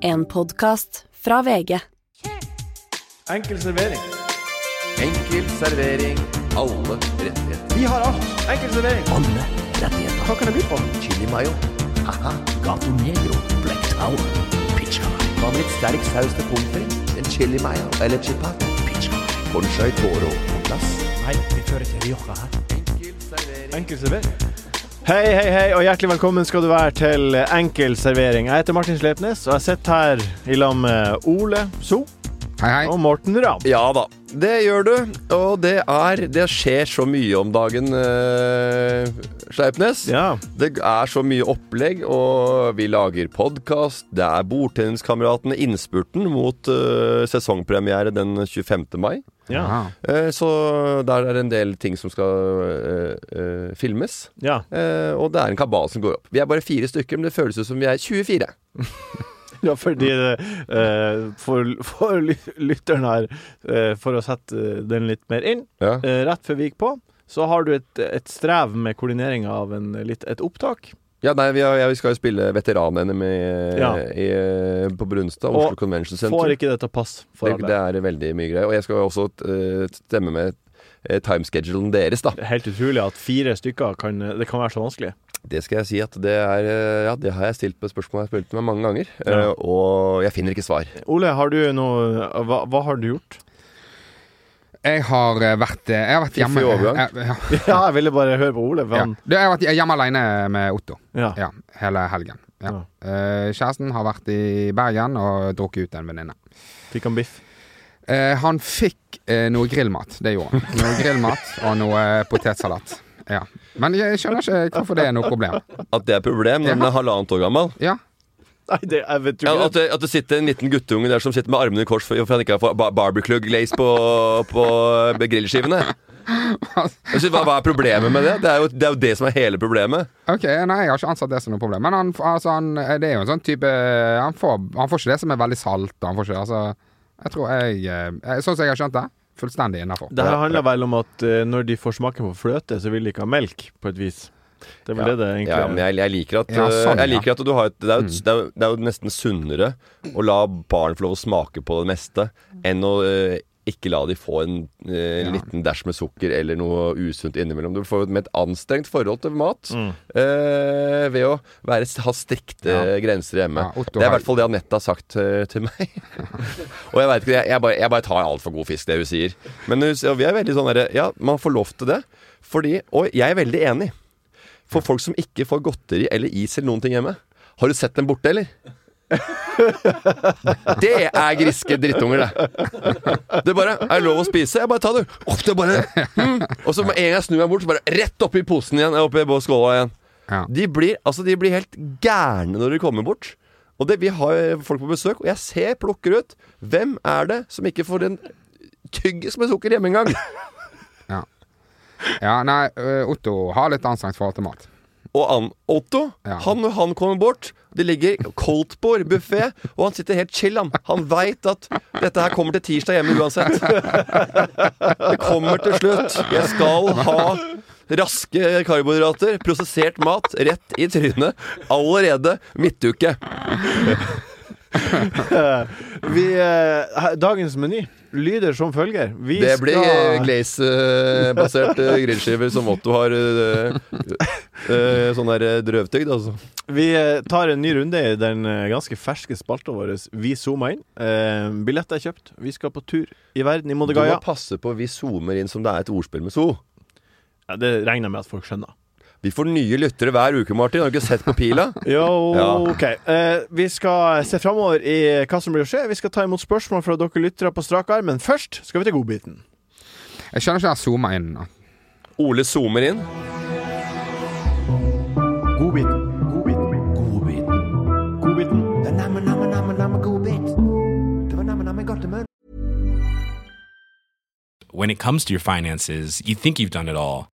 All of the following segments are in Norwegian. En podkast fra VG. Enkel servering. Enkel servering. Alle rettigheter. Vi har alt. Enkel servering. Alle rettigheter. Hva kan det by på? Chili mayo. Haha. Gato Negro. Black Tower. Pizza. Hva med litt sterk saus til pommes frites? En chili mayo eller chipat? Pizza. Conchai toro på plass. Nei, vi fører til Rioja her. Enkel servering. Enkel servering. Hei, hei, hei, og hjertelig velkommen skal du være til Enkel servering. Jeg heter Martin Slepnes, og jeg sitter her i lag med Ole So Hei, hei. og Morten Ramm. Ja da, det gjør du. Og det er Det skjer så mye om dagen, eh, Sleipnes. Ja. Det er så mye opplegg, og vi lager podkast. Det er Bordtenniskameratene Innspurten mot eh, sesongpremiere den 25. mai. Ja. Ja. Eh, så der er det en del ting som skal eh, eh, filmes. ja. Eh, og det er en kabal som går opp. Vi er bare fire stykker, men det føles ut som vi er 24. Ja, fordi det, eh, for, for ly- lytteren her, eh, for å sette eh, den litt mer inn, Ja. eh, rett før vi gikk på, så har du et, et strev med koordineringa av en, litt, et opptak. nei, vi, har, ja, vi skal jo spille veteran-NM i- Ja. i- på Brunstad, Og Oslo Convention Får Center. ikke det til å passe for Det, det alle. er veldig mye greier. Og jeg skal jo også eh, stemme med eh, timeschedulen deres, da. Det er helt utrolig at fire stykker kan Det kan være så vanskelig. Det skal jeg si at det er eh, Ja, det har jeg stilt på spørsmål jeg har spurt meg mange ganger, eh, Ja. og jeg finner ikke svar. Ole, har du noe Hva, hva har du gjort? Jeg har eh, vært eh, Jeg har vært Fiffig hjemme overgang. Jeg, ja, Ja, jeg ville bare høre på Ole. for ja. han- Du, jeg har vært hjemme alene med Otto Ja. ja, hele helgen. Ja. Ja. Eh, kjæresten har vært i Bergen og drukket ut en venninne. Fikk han biff? Eh, han fikk eh, noe grillmat. Det gjorde han. Noe grillmat og noe eh, potetsalat. Ja. Men jeg skjønner ikke hvorfor det er noe problem. At det er et problem når Ja. den er halvannet år gammel. Ja, Nei, det, jeg vet jo Ja, ikke. at, det, at det sitter en liten guttunge der som sitter med armene i kors for, for han ikke har fått ba- barbecue glaze på, på eh, grillskivene. Jeg synes, hva, hva er problemet med det? Det er, jo, det er jo det som er hele problemet. ok, Nei, jeg har ikke ansatt det som noe problem. Men han, altså, han, eh, det er jo en sånn type han får, han får ikke det som er veldig salt. og Han får ikke, altså, jeg tror jeg, eh, jeg Sånn som jeg har skjønt det, fullstendig innafor. Det her handler vel om at eh, når de får smaken på fløte, så vil de ikke ha melk, på et vis. Det er vel Ja. det det egentlig Ja, men jeg, jeg liker at, Ja, sånn, eh, jeg ja. Mm. liker at du har et, det, er jo, det, er, jo- det er jo nesten sunnere å la barn få lov å smake på det meste enn å eh, ikke la de få en eh, Ja. liten dæsj med sukker eller noe usunt innimellom. Du får jo et anstrengt forhold til mat Mm. eh, ved å være, ha strikte grenser hjemme. Ja, det Otto er i har- hvert fall det Anette har sagt eh, til meg. og jeg vet ikke, jeg, jeg, bare, jeg bare tar altfor god fisk, det hun sier. Men hun, sier- og vi er veldig sånn derre Ja, man får lov til det. Fordi, og jeg er veldig enig. For folk som ikke får godteri eller is eller noen ting hjemme. Har du sett dem borte, eller? Det er griske drittunger, det. Det bare Er det lov å spise? Jeg bare tar det. Opp, det bare, mm. Og så med en gang jeg snur meg bort, så bare rett oppi posen igjen. Oppi skåla igjen. Ja. De blir, altså, de blir helt gærne når de kommer bort. Og det, Vi har folk på besøk, og jeg ser plukker ut. Hvem er det som ikke får en tyggis med sukker hjemme engang? Ja, nei, ø, Otto har litt anstrengt forhold til mat. Og han, Otto, Ja. han når han kommer bort Det ligger koldtbord, buffé, og han sitter helt chill. Han, han veit at dette her kommer til tirsdag hjemme uansett. Det kommer til slutt. Jeg skal ha raske karbohydrater, prosessert mat, rett i trynet. Allerede midtuke. Vi, eh, her- dagens meny lyder som følger. Vi Det blir eh, skal glaze-basert eh, grillskiver som Otto har. eh, eh, Sånn der eh, drøvtygd, altså. Vi eh, tar en ny runde i den eh, ganske ferske spalta vår. Vi zoomer inn. Eh, billetter er kjøpt. Vi skal på tur i verden, i Du må Modigaya. passe på vi zoomer inn som det er et ordspill med so. Ja, det regner jeg med at folk skjønner. Vi får nye lyttere hver uke, Martin. Har du ikke sett på pila? Jo, Ja. ok. Eh, vi skal se framover i hva som blir å skje. Vi skal ta imot spørsmål fra dere lyttere på strak arm, men først skal vi til godbiten. Jeg skjønner ikke den zooma inn nå. Ole zoomer inn. Godbiten. Godbiten. Godbiten. When it comes to your finances, you think you've done it all.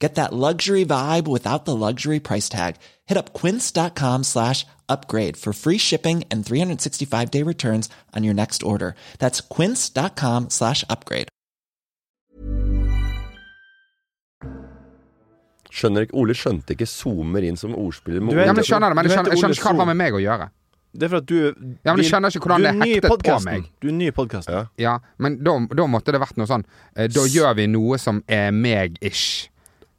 Get that luxury vibe without the luxury price tag. Hit up quince.com slash upgrade for free shipping and 365-day returns on your next order. That's quince.com slash upgrade. Skjønner ikke, Ole skjønte ikke 'zoomer inn' som ordspiller med Du vet- Ja, men Ole. jeg skjønner det, men Du jeg heter skjønner, jeg skjønner Ole ikke hva det har Sol. med meg å gjøre. Det er for at du Ja, men jeg din- skjønner ikke hvordan du det er er ny i hektet på podcasten. meg. Du er ny i podkasten. Ja. Ja, men da, da måtte det vært noe sånn eh, Da gjør vi noe som er meg-ish.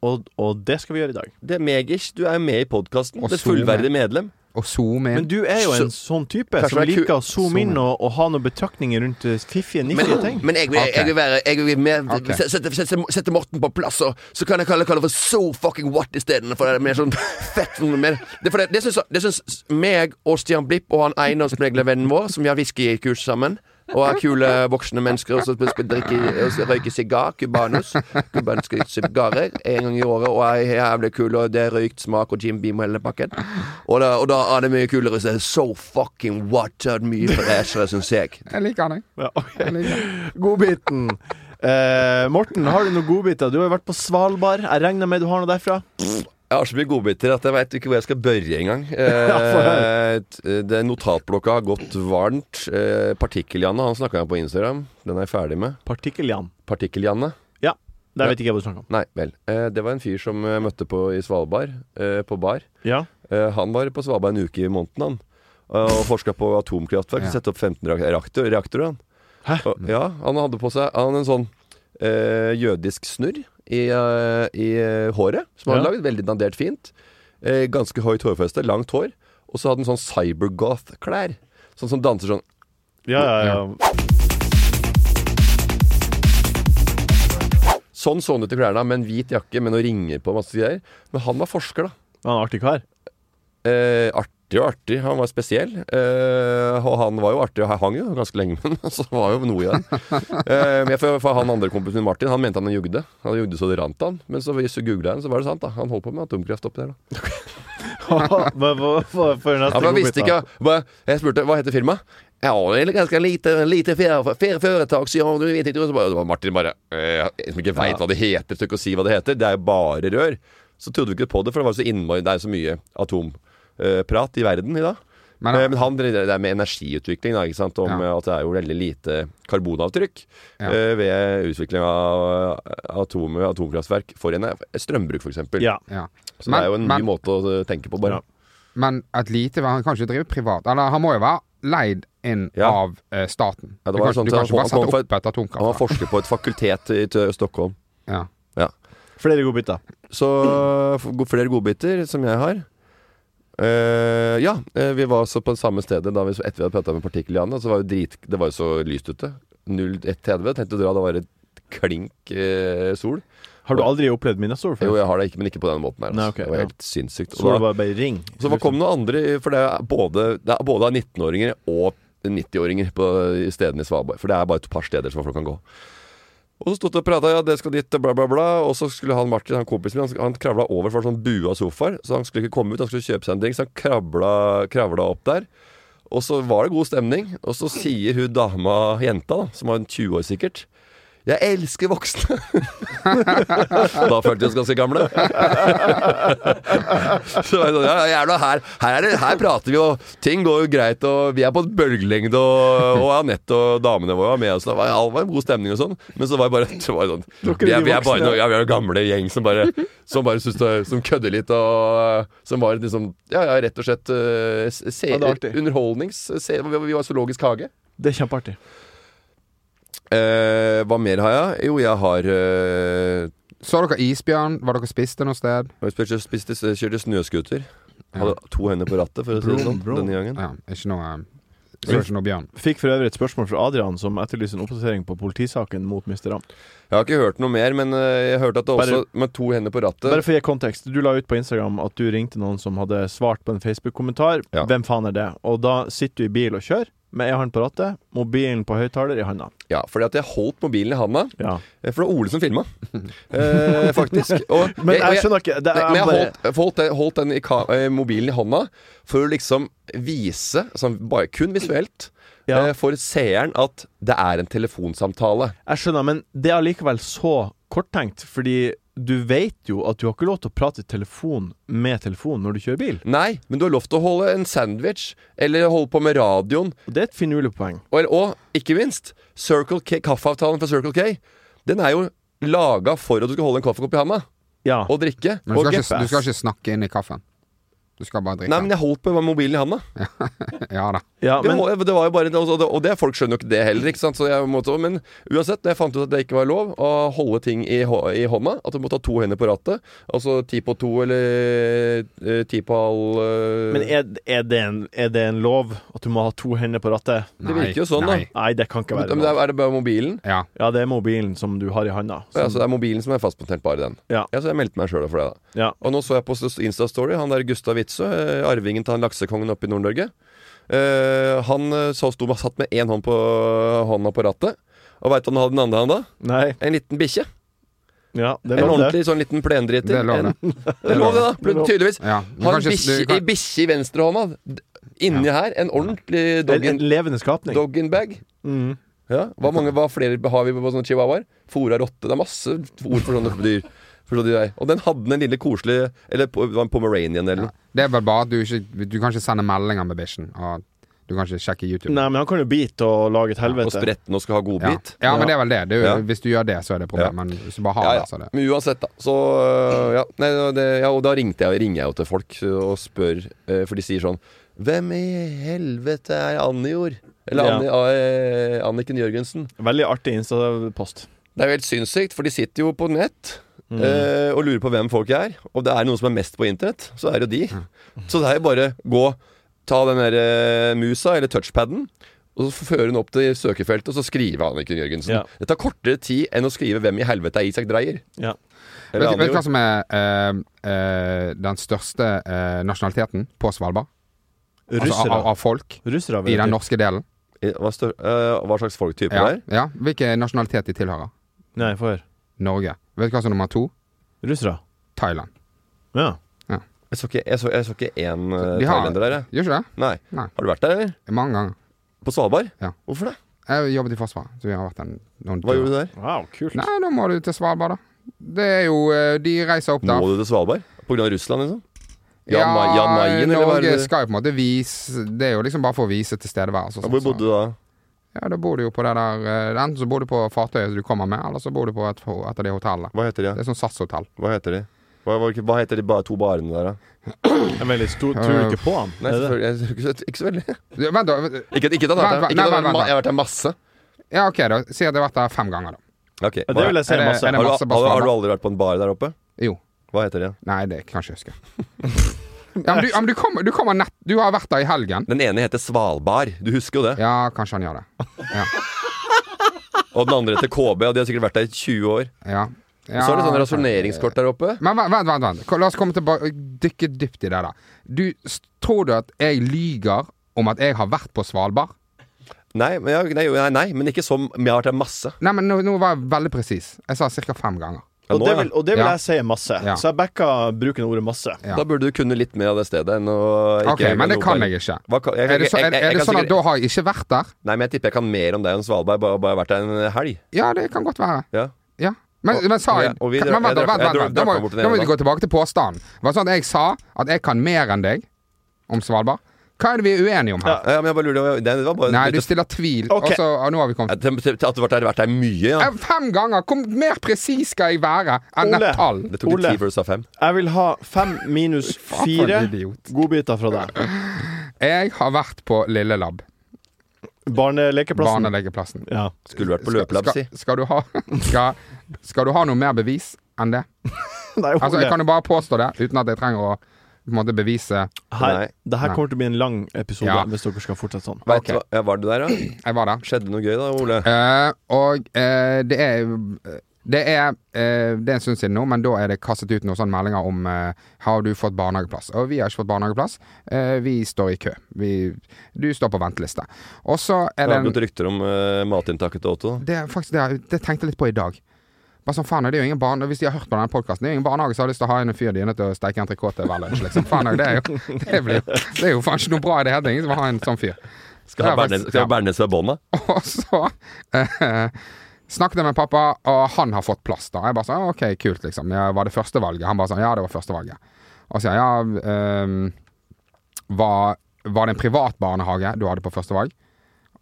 Og, og det skal vi gjøre i dag. Det er megish. Du er jo med i podkasten. Og Det zoomer. fullverdige medlem. Og zoome Men inn. du er jo en sånn type som det er ku- liker å zoome inn zoome. og, og ha noen betraktninger rundt eh, fiffige, niftige ting. jeg vil- jeg vil være jeg vil Ok. se- sette Morten på plass, og så kan jeg kalle det for so fucking what istedenfor. Det er mer sånn fett Det, syns meg og Stian Blipp og han eiendomsmeglervennen vår, som vi har whiskykurs sammen og er kule voksne mennesker og så sp- sp- drikker og så røyker sigar, cubanus. Cubanske sigarer en gang i året og er jævlig kule, og det er røykt smak og Jim Beam og hele pakken. Og da, og da er det mye kulere. Så det er so fucking what. er Mye freshere, syns jeg. Jeg liker han, jeg. Ja, ok. jeg. liker han. Godbiten. Eh, Morten, har du noen godbiter? Du har jo vært på Svalbard. Jeg regner med du har noe derfra? Jeg har så mye godbiter at jeg veit ikke hvor jeg skal børre engang. Eh, t- det notatblokka har gått varmt. Eh, Partikkel-Janne, han snakka jeg om på Instagram. Den er jeg ferdig med. Partikkeljan. Partikkel-Janne? Ja. Der Ja. vet ikke jeg hva du snakker om. Nei, vel. Eh, det var en fyr som jeg møtte på i Svalbard, eh, på bar. Ja. Eh, han var på Svalbard en uke i måneden, han. Eh, Og forska på atomkraftverk. Ja. Sette opp 15 reak- reaktor, reaktorer, han. Hæ? Og, ja, han hadde på seg han hadde en sånn eh, jødisk snurr i, eh, i eh, håret, som han Ja. hadde laget. Veldig dandert fint. Eh, ganske høyt hårfeste, langt hår. Og så hadde han sånn cybergoth-klær. Sånn som danser sånn Ja, ja, ja. Sånn så han ut i klærne, med en hvit jakke med noen ringer på. masse greier Men han var forsker, da. Han er en artig kar. Eh, artig og artig. Han var spesiell. Eh, og han var jo artig, og han hang jo ganske lenge med den. Så det var jo noe i det. Eh, men jeg- for, for han andre kompisen min, Martin, han mente han jugde. Han jugde så det rant han. Men så, hvis du googlet han, så var det sant, da. Han holdt på med atomkraft oppi der, da. Hva- hva- hva- for neste Ja, for jeg godbit, visste da? ikke bare, Jeg spurte hva heter firmaet. Ja, det er ganske lite, lite fer- fer- foretak, sier han. Du vet ikke, og så bare, og Martin bare eh, Som ikke veit hva det heter, så ikke å si hva det heter. Det er jo bare rør. Så trodde vi ikke på det, for det var så innmari Det er så mye atomprat i verden i dag. Men, Eh, Men han drev det der med energiutvikling, da, ikke sant? om Ja. eh, at det er jo veldig lite karbonavtrykk Ja. eh, ved utvikling av eh, atom, atomkraftverk for en strømbruk, f.eks. Ja. ja. Så Men- det er jo en men- ny måte å eh, tenke på, Ja. bare. Men at lite Han kan ikke drive privat. Eller han må jo være leid inn Ja. av eh, staten. Ja, det du var kan, sånn du til kan han ikke bare kom- han sette kom opp et Han var atomkraftverk. forsker på et fakultet i Tø- Stockholm. Ja. Flere godbiter. Så f- go- flere godbiter som jeg har. Eh, ja, eh, vi var så på det samme stedet da vi, etter vi hadde prata med Partikkel-Janne. Så var jo drit, det var jo så lyst ute. 01.30. Tenkte å dra, da var det klink eh, sol. Har du aldri opplevd Minnesota før? Jo, jeg har det ikke, men ikke på den måten her. Altså. Nei, ok, det var ja. helt sinnssykt. Så var Og det da, bare, bare ring. så hva kom det noen andre For det er både, det er både av 19-åringer og 90-åringer på stedene i Svalbard. For det er bare et par steder som folk kan gå. Og så stod det og prata, ja, det skal dit, bla, bla, bla. Og så skulle han Martin, han kompisen min, han, han kravla over for en sånn bue av sofaer. Så han skulle ikke komme ut, han skulle kjøpe seg en drink, så han kravla, kravla opp der. Og så var det god stemning. Og så sier hun dama, jenta, da, som var en 20 år sikkert Jeg elsker voksne! Og da følte vi oss ganske gamle. Så var jeg sånn, ja, ja, jævla, her, her, er det, her prater vi, og ting går jo greit, og vi er på bølgelengde, og, og Anette og damene våre var med oss. Det var, det var en god stemning og sånn, men så var det bare, det var sånn vi er, vi er bare noen ja, vi er en gamle gjeng som bare, som bare synes det, som kødder litt, og som var liksom Ja, ja, rett og slett eh, se, Ja, det er artig. underholdnings... Se, vi vi var i zoologisk hage. Det er kjempeartig. Eh, hva mer har jeg? Jo, jeg har eh, Så dere isbjørn? Var dere spiste noe sted? Jeg spiste, spiste, kjørte snøskuter. Hadde to hender på rattet, for å si det sånn, Brum, brum. denne gangen. Ja, ikke noe eh, Searchen og Bjørn. Fikk for øvrig et spørsmål fra Adrian, som etterlyser en oppdatering på politisaken mot Mr. Ram. Jeg har ikke hørt noe mer, men eh, jeg hørte at det også Bare- Med to hender på Bare rattet. for å gi kontekst, du la ut på Instagram at du ringte noen som hadde svart på en Facebook-kommentar. Ja. Hvem faen er det? Og da sitter du i bil og kjører, med ei hånd på rattet, mobilen på høyttaler i handa. Ja, fordi at jeg holdt mobilen i handa. Ja. eh, For det var Ole som filma, eh, faktisk. Og Men jeg, og skjønner ikke det, Nei, er men jeg bare, holdt, holdt, den- holdt den i ka eh, mobilen i hånda for å liksom vise, sånn, bare kun visuelt, Ja. eh, for seeren at det er en telefonsamtale. jeg skjønner, men det er allikevel så korttenkt, fordi du vet jo at du har ikke lov til å prate i telefon med telefon når du kjører bil. Nei, men du har lov til å holde en sandwich, eller holde på med radioen, Og det er et finurlig poeng. og, og ikke minst Circle K, kaffeavtalen fra Circle K. Den er jo laga for at du skal holde en kaffekopp i handa Ja. og drikke. Men du og skal, geppe. ikke, du skal ikke snakke inn i kaffen. Du skal bare drikke. Nei, men jeg holdt på med mobilen i handa. Ja da. ja Det, men, må- det var jo bare Og det, og det folk skjønner jo ikke det heller, ikke sant? Så jeg måtte, men uansett, jeg fant ut at det ikke var lov å holde ting i, hå- i hånda. At du måtte ha to hender på rattet. Altså ti på to eller eh, ti på halv eh, men er, er, det en, er det en lov at du må ha to hender på rattet? Det virker jo sånn, da. nei. Nei, det kan ikke men, være men lov. er det bare mobilen? Ja. Ja, det er mobilen som du har i handa. Ja, så det er mobilen som er fastmontert bare i den. Ja. så jeg meldte meg sjøl for det, da. Ja. Og nå så jeg på Insta-story han der Gustav Witzøe, eh, arvingen til han laksekongen oppe i Nord-Norge. Eh, han eh, så sto satt med én hånd på hånda på rattet. Og veit du hva han hadde den andre hånda? Nei. En liten bikkje. Ja, det En er lov, det. ordentlig sånn liten plendriter. Det er lov, det. En- Det er lov, det, da. Det er lov. Tydeligvis. Ja. Du Har kan en ikke- bikkje du kan- ei bikkje i venstrehånda. D- Inni her. En ordentlig En, en dog levende skapning. in bag. Mm. Ja. Hva mange hva flere har vi på sånne chihuahuaer? Fora rotte. Det er masse ord for sånne dyr. For sånne dyr her. Og den hadde den lille koselige Eller po- det var en pomeranian eller noe. Det er vel bare at du ikke Du kan ikke sende meldinger med bikkjen. Og du kan ikke sjekke YouTube. Nei, men han kan jo bite og lage et Og helvete. spretten og skal ha Ja. godbit. ja, men det er vel det. det er, jo- Ja. Hvis du gjør det, så er det et problem. Ja. Men hvis du bare har Ja, altså det, så er ja. det Men uansett, da. Så øh, ja. Nei, det, ja og da ringte jeg, ringer jeg jo til folk øh, og spør, øh, for de sier sånn Hvem i helvete er Annijord? Eller Ja. Anni, øh, Anniken Jørgensen. Veldig artig Insta-post. Det er jo helt sinnssykt, for de sitter jo på nett. øh, og lurer på hvem folk er. Og det er noen som er mest på internett, så er det jo de. Mm. Så det er jo bare gå, ta den der øh, musa, eller touchpaden, og så føre den opp til søkefeltet, og så skrive Anniken Jørgensen. Ja. Det tar kortere tid enn å skrive 'Hvem i helvete er Isak Dreyer'? Ja. Eller Vet du- vet du Annijord. hva som er eh, eh, den største eh, nasjonaliteten på Svalbard? Altså Russere. av, av folk Russere i vet den du. norske delen. I- Eh, Hva, stør, øh, hva slags folktype Ja. det er? ja. Hvilken nasjonalitet de tilhører? Nei, få høre. Norge. Vet du hva som er nummer to? Russere. Thailand. Ja. Jeg så ikke, jeg så, jeg så ikke én øh, De har- thailender der, jeg. Gjør ikke det? Nei. Nei. Har du vært der, eller? Mange ganger. På Svalbard? Ja. Hvorfor det? Jeg har jobbet i Forsvaret, så vi har vært en, noen Hva gjorde du der? Wow, kult. Nei, da må du til Svalbard, da. Det er jo eh, De reiser opp Må der. du til Svalbard? På grunn av Russland, liksom? Jan, Ma Jan Mayen, eller hva er Norge det? skal jo på en måte vise Det er jo liksom bare for å vise tilstedeværelse. og Ja, sånt, Hvor bodde du da? Så. Ja, da bor du jo på det der eh, Enten så bor du på fartøyet du kommer med, eller så bor du på et, et av de hotellene. Hva heter de? Det da? er sånn SAS-hotell. Hva heter de? Hva, hva, hva heter de ba- to barene der, da? En veldig stor Tror du ikke på han? Nei, Er det? selvfølgelig, jeg, ikke, så- ikke så veldig. Ja, Vent, da. vent- Ikke, ikke at jeg har Vent, vært der. Ikke vent, at jeg har vært- vent, vent. jeg har vært der masse. Ja, OK, da. Si at jeg har vært der fem ganger, da. Ok, Ja, det vil jeg si Er er det- masse. er det- har, du, masse på har, har du Svalbard. aldri vært på en bar der oppe? Jo. Hva heter de? Nei, det kan jeg ikke huske. Ja, men du, ja, men du, kommer, du kommer nett Du har vært der i helgen. Den ene heter Svalbard. Du husker jo det. Ja, kanskje han gjør det. Ja. Og den andre heter KB, og de har sikkert vært der i 20 år. ja. Og så er det sånn Ja, rasjoneringskort der oppe. Men vent, vent, vent, vent. La oss komme tilbake dykke dypt i det der. Du, s- tror du at jeg lyger om at jeg har vært på Svalbard? Nei, men, jeg, nei, nei, nei, men ikke som men Jeg har vært der masse. Nei, men nå, nå var jeg veldig presis. Jeg sa ca. fem ganger. Ja, Og nå, det ja. vil, og det vil Ja. jeg si er masse. Ja. Så jeg backa bruken av ordet masse. Ja. Da burde du kunne litt mer av det stedet enn å ikke Ok, men det kan jeg ikke. Hva kan- jeg- Er det, så, jeg- jeg- er, jeg er det kan sånn sikkert- at da har jeg ikke vært der? Nei, men jeg tipper jeg kan mer om deg enn Svalbard. Bare, bare vært der en helg. Ja, det kan godt være. Ja. Ja. Men, Og- men sa jeg ja, og vi kan- drar- men Vent, jeg da, drar- vent, jeg vent. drar- vent. Da drar må, meg bort til den da må vi ene, gå tilbake til påstanden. Det var sånn at jeg sa at jeg kan mer enn deg om Svalbard. Hva er det vi er uenige om her? ja, men jeg bare lurer det var bare Nei, du litt- stiller tvil, Ok. og så og nå har vi kommet At at du har vært der, vært der mye, ja. Eh, Fem ganger! Hvor mer presis skal jeg være enn Ole. et tall? Det tok litt Ole. tid før du sa fem. Jeg vil ha fem minus for en fire idiot. godbiter fra deg. Jeg har vært på Lille Lab, Barnelekeplassen. barnelegeplassen. Ja. Skulle vært på løpelabb, si. skal, skal, du ha, skal, skal du ha noe mer bevis enn det? Nei, Altså, Ole. Jeg kan jo bare påstå det, uten at jeg trenger å på en måte bevise Her, Nei. det her kommer til å bli en lang episode Ja. hvis dere skal fortsette sånn. Vet Ok. du hva, ja, var det der, da? Jeg var der. Skjedde noe gøy da, Ole? Eh, og eh, det er det er, eh, det er en stund siden nå, men da er det kastet ut noen sånne meldinger om eh, Har du fått barnehageplass? Og vi har ikke fått barnehageplass. Eh, vi står i kø. Vi, du står på venteliste. Og så Det er det har en, gått rykter om eh, matinntaket til Otto. det er faktisk det, jeg- det tenkte jeg litt på i dag. Bare sånn, faen, det er jo ingen barn, Hvis de har hørt på denne podkasten, det er jo ingen barnehage som har lyst til å ha en fyr de er nødt til å steike entrecôte til hver lunsj. Liksom. Faen, det, er jo, det, blir, det er jo faen ikke noe bra i det hele tatt. Ingen som vil ha en sånn fyr. Skal ha Det er Bernes faktisk- skal ha Bernes ved bånda. Og så eh, snakket jeg med pappa, og han har fått plass da. Jeg bare sånn, «Ah, ok, kult liksom. Ja, var det første valget? Han bare sånn, ja, det var første valget. Og så sier jeg, ja, ehm, var, var det en privat barnehage du hadde på første valg?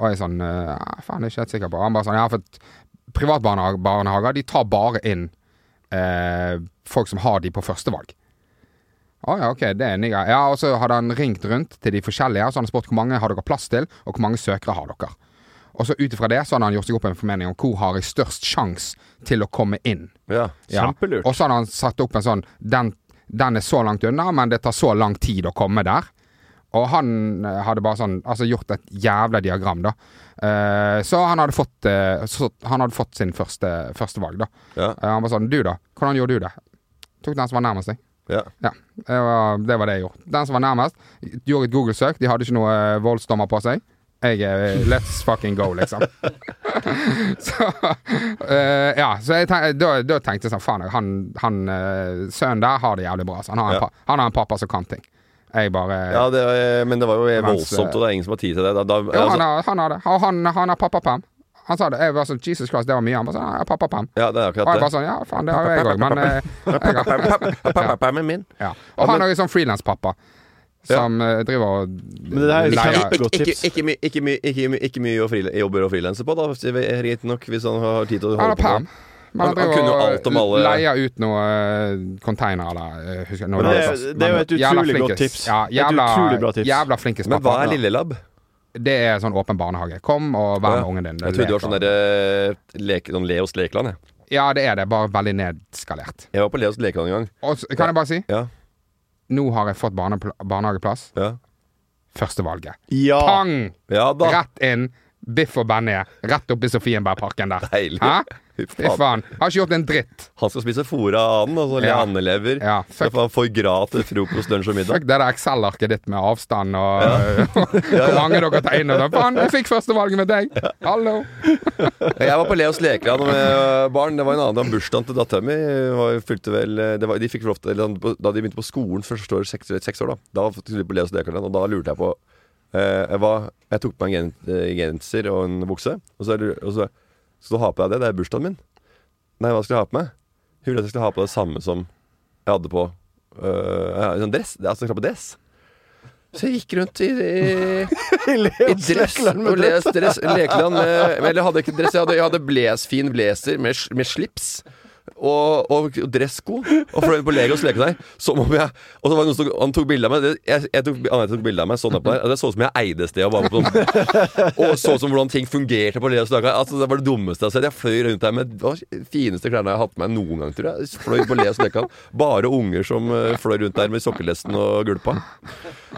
Og jeg er sånn, eh, «Ah, faen, det er jeg ikke helt sikker på. Han bare sånn, ja, for privat barnehage, barnehager, de tar bare inn eh, folk som har de på første valg. Å ja, ok, det er en ny greie. Ja, og så hadde han ringt rundt til de forskjellige, og så hadde han spurt hvor mange har dere plass til, og hvor mange søkere har dere. Og så ut ifra det så hadde han gjort seg opp en formening om hvor har jeg størst sjanse til å komme inn. Ja. Kjempelurt. Og så hadde han satt opp en sånn den, den er så langt unna, men det tar så lang tid å komme der. Og han eh, hadde bare sånn Altså gjort et jævla diagram, da. Eh, så han hadde fått eh, så, Han hadde fått sin første, første valg, da. Ja. Eh, han var sånn Du, da? Hvordan gjorde du det? Tok den som var nærmest deg. ja. Ja, det var, det var det jeg gjorde. Den som var nærmest, gjorde et Google-søk. De hadde ikke noe eh, voldsdommer på seg. Jeg er Let's fucking go, liksom. så eh, Ja, så jeg tenk, da, da tenkte jeg sånn Faen, han, han eh, sønnen der har det jævlig bra. Så han, har en Ja. pa, han har en pappa som kan ting. Jeg bare ja det, var- men det var jo Mens, voldsomt, og det er ingen som har tid til det. Da, da, Jo, han altså, har, han har det. Og han, han har pappaperm. Han sa det. Jeg var sånn Jesus Christ, det var mye. Han bare sånn Ja, pappaperm. ja, det er Og jeg akkurat bare det. sånn Ja, faen, det har jo jeg òg, men eh, jeg har Pappapermen min. Ja. Og han er jo sånn frilanspappa som eh, driver og Men det her er leier- kjempegodt Ikke, tips. ikke, mye- ikke, mye- ikke, mye- ikke mye å frile- jobber og frilanse på, da, rett nok, hvis han har tid til å Han holde har på. perm. med. Men Han- han kunne jo alt om alle- leier ut noe eh, container eller eh, husker, jeg- noe Men det er- sånt. det er jo Men et jævla utrolig flinkis. godt tips. Ja, Et jævla, utrolig bra tips. Jævla flinkis Men hva pappa. er Lillelab? Det er sånn åpen barnehage. Kom og vær med ungen din. Jeg trodde det var sånn Leker. der, eh, lek, sånn Leos lekeland. Jeg. Ja, det er det. Bare veldig nedskalert. jeg var på Leos lekeland en gang. Og så, kan jeg bare si, Ja, nå har jeg fått barne, barnehageplass. ja. Førstevalget. Ah. Ja! Pang! ja da. Rett inn. Biff og Benny. Rett opp i Sofienbergparken der. Deilig. Hæ? Fy Fy faen. faen. Har ikke gjort en dritt. Han skal spise fôr av anden, altså Ja. andelever. Ja, Skal fuck. få- få gratis frokost, lunsj og middag. Fuck det der Excel-arket ditt med avstand og hvor mange dere tar inn. Og sånn. Faen, jeg fikk førstevalget med deg! Hallo! Jeg var på Leos lekeland med eh, barn. Det var en annen dag. Bursdagen til dattera mi var- fylte vel eh, det var, De fikk lov til eller da- Da de begynte på skolen første år, seks, seks år, da Da skulle de på Leos lekeland, og da lurte jeg på eh, jeg, var, jeg tok på meg en gen- eh, genser og en bukse, og så, er det- og så Skal du ha på deg det? Det er bursdagen min. Nei, hva skal jeg ha på meg? Hun ville at jeg skulle ha på det samme som jeg hadde på eh, ja, sånn dress. Altså, jeg skal ha på dress. Så jeg gikk rundt i, i I dress. Og les dress Lekeland med men Jeg hadde ikke dress, jeg hadde, jeg hadde bles, fin blazer med, sl- med slips. Og, og dressko. Og fløy på Legos lekedeig. Som om jeg Og så var det noen som han tok bilde av meg. Det- Jeg, jeg tok, han tok bilde av meg sånn oppå der. og Det så ut som jeg eide stedet. Og, var på sånn, og så ut som hvordan ting fungerte på Legos lekedeig. Altså, det var det dummeste jeg har sett. Jeg fløy rundt der med det var de fineste klærne jeg har hatt på meg noen gang, tror jeg. Fløy på Legos lekeland. Bare unger som eh, fløy rundt der med sokkelesten og gulpa.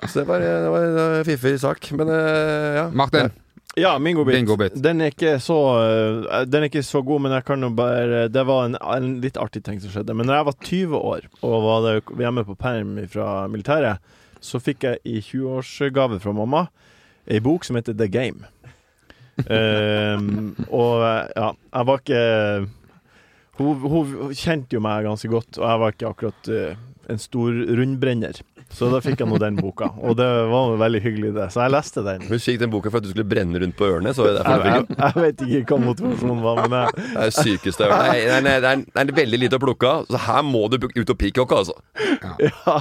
Så det var, det var en fiffig sak. Men eh, ja. Martin, Ja, min godbit. Din godbit. Den, er ikke så, eh, den er ikke så god, men jeg kan jo bare Det var en, en litt artig ting som skjedde. Men da jeg var 20 år og var det hjemme på perm fra militæret, så fikk jeg i 20-årsgave fra mamma ei bok som heter The Game. Ehm, og eh, ja, jeg var ikke hun, hun kjente jo meg ganske godt, og jeg var ikke akkurat eh, en stor rundbrenner. Så da fikk jeg nå den boka, og det var veldig hyggelig, det. Så jeg leste den. Hun fikk den boka for at du skulle brenne rundt på ørene. Så jeg derfor Jeg, jeg jeg, fikk den. jeg vet ikke hva motivasjonen var, men jeg, Det er det sykeste jeg har hørt. Nei, nei, nei, det er- det er veldig lite å plukke av, så her må du ut og peacocke, altså. ja.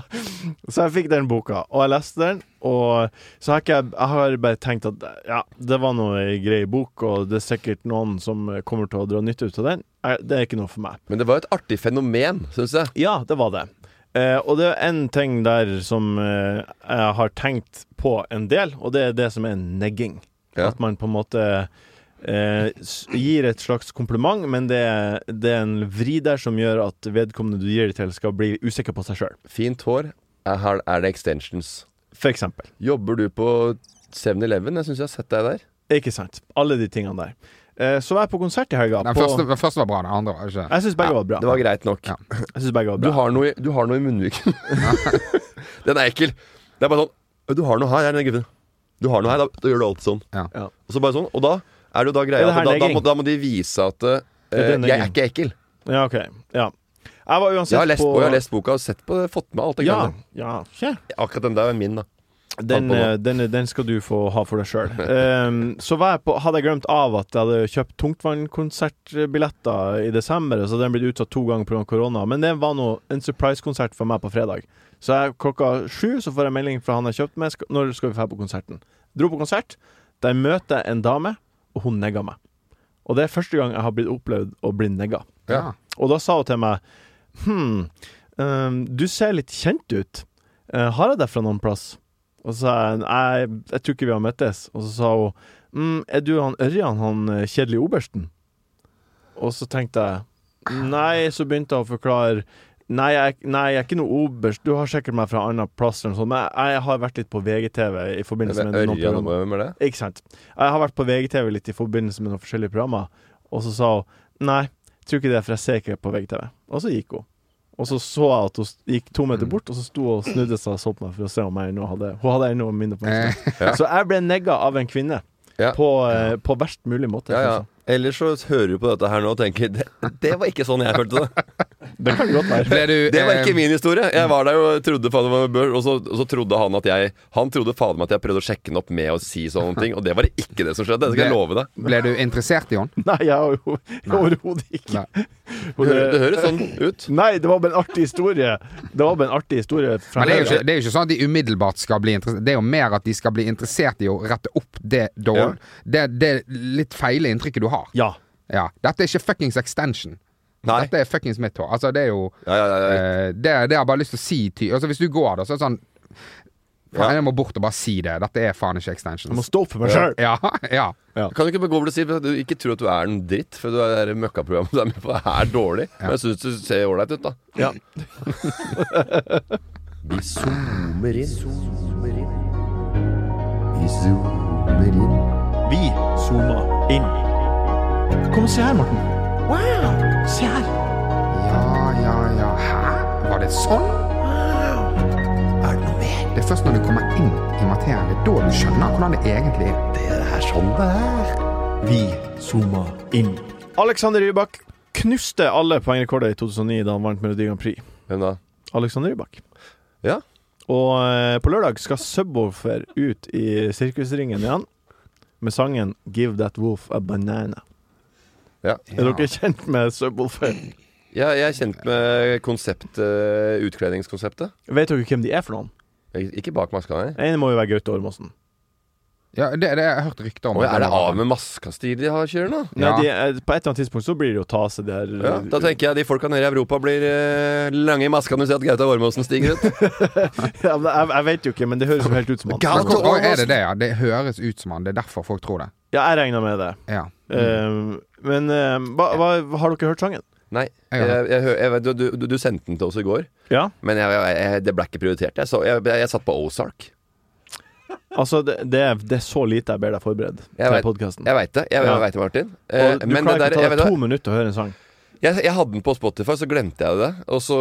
Så jeg fikk den boka, og jeg leste den. Og så har ikke jeg, jeg har bare tenkt at ja, det var nå ei grei bok, og det er sikkert noen som kommer til å dra nytte ut av den. Jeg, det er ikke noe for meg. Men det var et artig fenomen, syns jeg. Ja, det var det. Eh, og det er en ting der som eh, jeg har tenkt på en del, og det er det som er negging. Ja. At man på en måte eh, s- gir et slags kompliment, men det er, det er en vri der som gjør at vedkommende du gir det til, skal bli usikker på seg sjøl. Fint hår. er, har- er det extensions. For eksempel. Jobber du på 7-Eleven? Jeg syns jeg har sett deg der. Ikke sant. Alle de tingene der. Eh, Så var jeg på konsert i helga. Den på- første, den første var bra, den andre var ikke Jeg syns begge var bra. Det var greit nok. Ja. Jeg synes begge var Du bra. har noe, i- du har noe i munnviken. den er ekkel. Det er bare sånn Du har noe her, er den gubben. Du har noe her, da, da gjør du alt sånn. Ja. Ja. Og så bare sånn. Og da er det jo da greia Er det at da, da, herneging? må, da må de vise at eh, det er jeg er herneging. ikke ekkel. Ja, OK. Ja. Jeg var uansett Jeg har lest, på og jeg har lest boka og sett på det, fått med alt det Ja. greiene. ja. ja. Akkurat den der er min, da. Den, Ta på eh, den, den skal du få ha for deg sjøl. så var jeg på, hadde jeg glemt av at jeg hadde kjøpt tungtvannkonsertbilletter i desember, så hadde den blitt utsatt to ganger pga. korona. Men det var nå en surprise-konsert for meg på fredag. Så jeg, klokka sju så får jeg melding fra han jeg kjøpte med, sk- når skal vi dra på konserten. Dro på konsert. Der møter jeg en dame, og hun negga meg. Og det er første gang jeg har blitt opplevd å bli negga. Ja. Og da sa hun til meg Hm, ehm, du ser litt kjent ut. Eh, har jeg deg fra noen plass? Og så sa jeg nei, jeg tror ikke vi har møttes. Og så sa hun mm, er du han Ørjan, han eh, kjedelige obersten? Og så tenkte jeg nei, så begynte jeg å forklare Nei jeg, nei, jeg er ikke noe oberst. Du har sikkert meg fra annen plass. Eller noe sånt. Men jeg, jeg har vært litt på VGTV i forbindelse med noen Ørjan, program. hvem er det? Ikke sant. Jeg har vært på VGTV litt i forbindelse med noen forskjellige programmer, og så sa hun nei, tror ikke det, for jeg ser ikke på VGTV. Og så gikk hun. Og så så jeg at hun s- gikk to meter Mm. bort, og så sto hun og snudde seg og så på meg for å se om jeg ennå hadde Hun hadde ennå min oppmerksomhet. Så jeg ble negga av en kvinne. Eh, Ja. På, eh, på verst mulig måte. Ja, ja. kanskje. Ellers så hører du på dette her nå og tenker det, det var ikke sånn jeg følte det. Det kan godt være. Ble du, Det var ikke eh, min historie. Jeg var der og trodde faen meg bør, og så, og så trodde han at jeg Han trodde faen meg at jeg prøvde å sjekke den opp med å si sånne ting, og det var ikke det som skjedde. Det skal jeg Det- love deg. Ble du interessert i henne? Nei, jeg har jo overhodet ikke Nei. Og Det, hø- det det- høres sånn ut. Nei, det var bare en artig historie. Det var bare en artig historie. fra Men det er, jo Høyre. ikke, det er jo ikke sånn at de umiddelbart skal bli interessert Det er jo mer at de skal bli interessert i å rette opp det dårl- Det, det litt feile inntrykket du har. Ja. Ja. Dette er ikke fuckings extension. Nei. Dette er fuckings mitt hår. Altså, det er jo Ja, ja, ja, ja. eh, det, det har jeg bare lyst til å si til altså, Hvis du går da, så er det sånn Ja. Faen, jeg må bort og bare si det. Dette er faen Jeg må ikke extensions. stå opp for meg sjøl. Ja, ja. Kan du ikke bare gå over og si at du ikke tror at du er en dritt, for det der møkkaprogrammet du er med på er dårlig, men jeg syns du ser ålreit ut, da. Ja. Vi zoomer inn. Vi zoomer inn. Vi zooma inn. Kom og se her, Morten. Wow! Se her. Ja, ja, ja. Hæ? Var det sånn? Er det noe mer? Det er først når du kommer inn i materien, det er da du skjønner hvordan det egentlig er. Det er sånn det er. Vi zooma inn. Alexander Rybak knuste alle poengrekorder i 2009 da han vant Melodi Grand Prix. Hvem da? Alexander Rybak. Ja. Og eh, på lørdag skal Subwoofer ut i sirkusringen igjen med sangen 'Give That Wolf A Banana'. Ja. Er dere kjent med Subwoofer? Jeg, jeg er kjent med konsept, eh, utkledningskonseptet. Vet dere hvem de er for noen? Ik- Ikke bak maska, nei. En må jo være Gaute Ormåsen. Ja, det, det har jeg hørt rykter om. Å, er det av med maska-stil de har kjører nå? Nei, Ja. de, er- på et eller annet tidspunkt så blir det jo tase der. Ja, da tenker jeg de folka nede i Europa blir eh, lange i maska når du ser at Gaute Ormåsen stiger ut. Ja, men jeg, jeg vet jo ikke, men det høres jo helt ut som han. Men hvor- Gaute hvor er Ormåsen. det det, ja? Det høres ut som han. Det er derfor folk tror det. Ja, jeg regner med det. Ja. Mm. Eh, men eh, hva, hva, har dere hørt sangen? Nei, Ja. jeg, jeg, hø- jeg, vet- du, du, du sendte den til oss i går, Ja. men jeg, jeg, jeg, det ble ikke prioritert. Jeg, så, jeg, jeg, jeg satt på Ozark. Altså, det, det, er, det er så lite jeg ber deg forberede Jeg til vet- podkasten. Jeg veit det, jeg, Ja. jeg vet det, Martin. Eh, Og du men klarer det ikke der, å jeg, ta vet deg det, to minutter å høre en sang. jeg, jeg hadde den på Spotify, så glemte jeg det. Og så,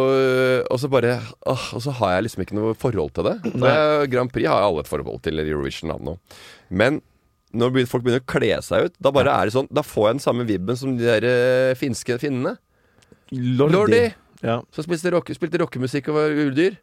og så bare åh, Og så har jeg liksom ikke noe forhold til det. For jeg, Grand Prix har jeg alle et forhold til eller Eurovision av nå. Men når begyn- folk begynner å kle seg ut, da bare er det sånn Da får jeg den samme vibben som de der eh, finske finnene. Lordi. Lordi! Ja. Så spilte rock, spilte rockemusikk og var uldyr.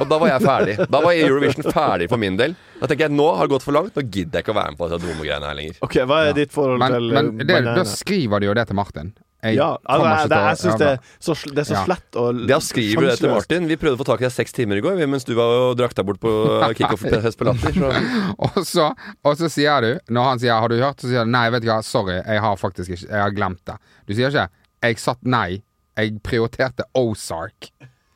Og da var jeg ferdig. Da var Eurovision ferdig for min del. Da tenker jeg nå har det gått for langt. Nå gidder jeg ikke å være med på disse dumme greiene her lenger. OK, hva er ditt forhold Men, til men eh, det, da Banana? skriver de jo det til Martin. Jeg Ja, altså, kommer ikke jeg, det, til å- jeg syns ja, det, er så sl- det er så Ja. slett Sånn og Da skriver du det til sjanseløst. Martin. Vi prøvde å få tak i deg seks timer i går vi, mens du var og drakk deg bort på kickoff-fest på Latter. Så Og så, og så sier du, når han sier 'har du hørt', så sier du 'nei, vet du hva, sorry, jeg har faktisk ikke Jeg har glemt det'. Du sier ikke 'jeg satt nei', jeg prioriterte Ozark.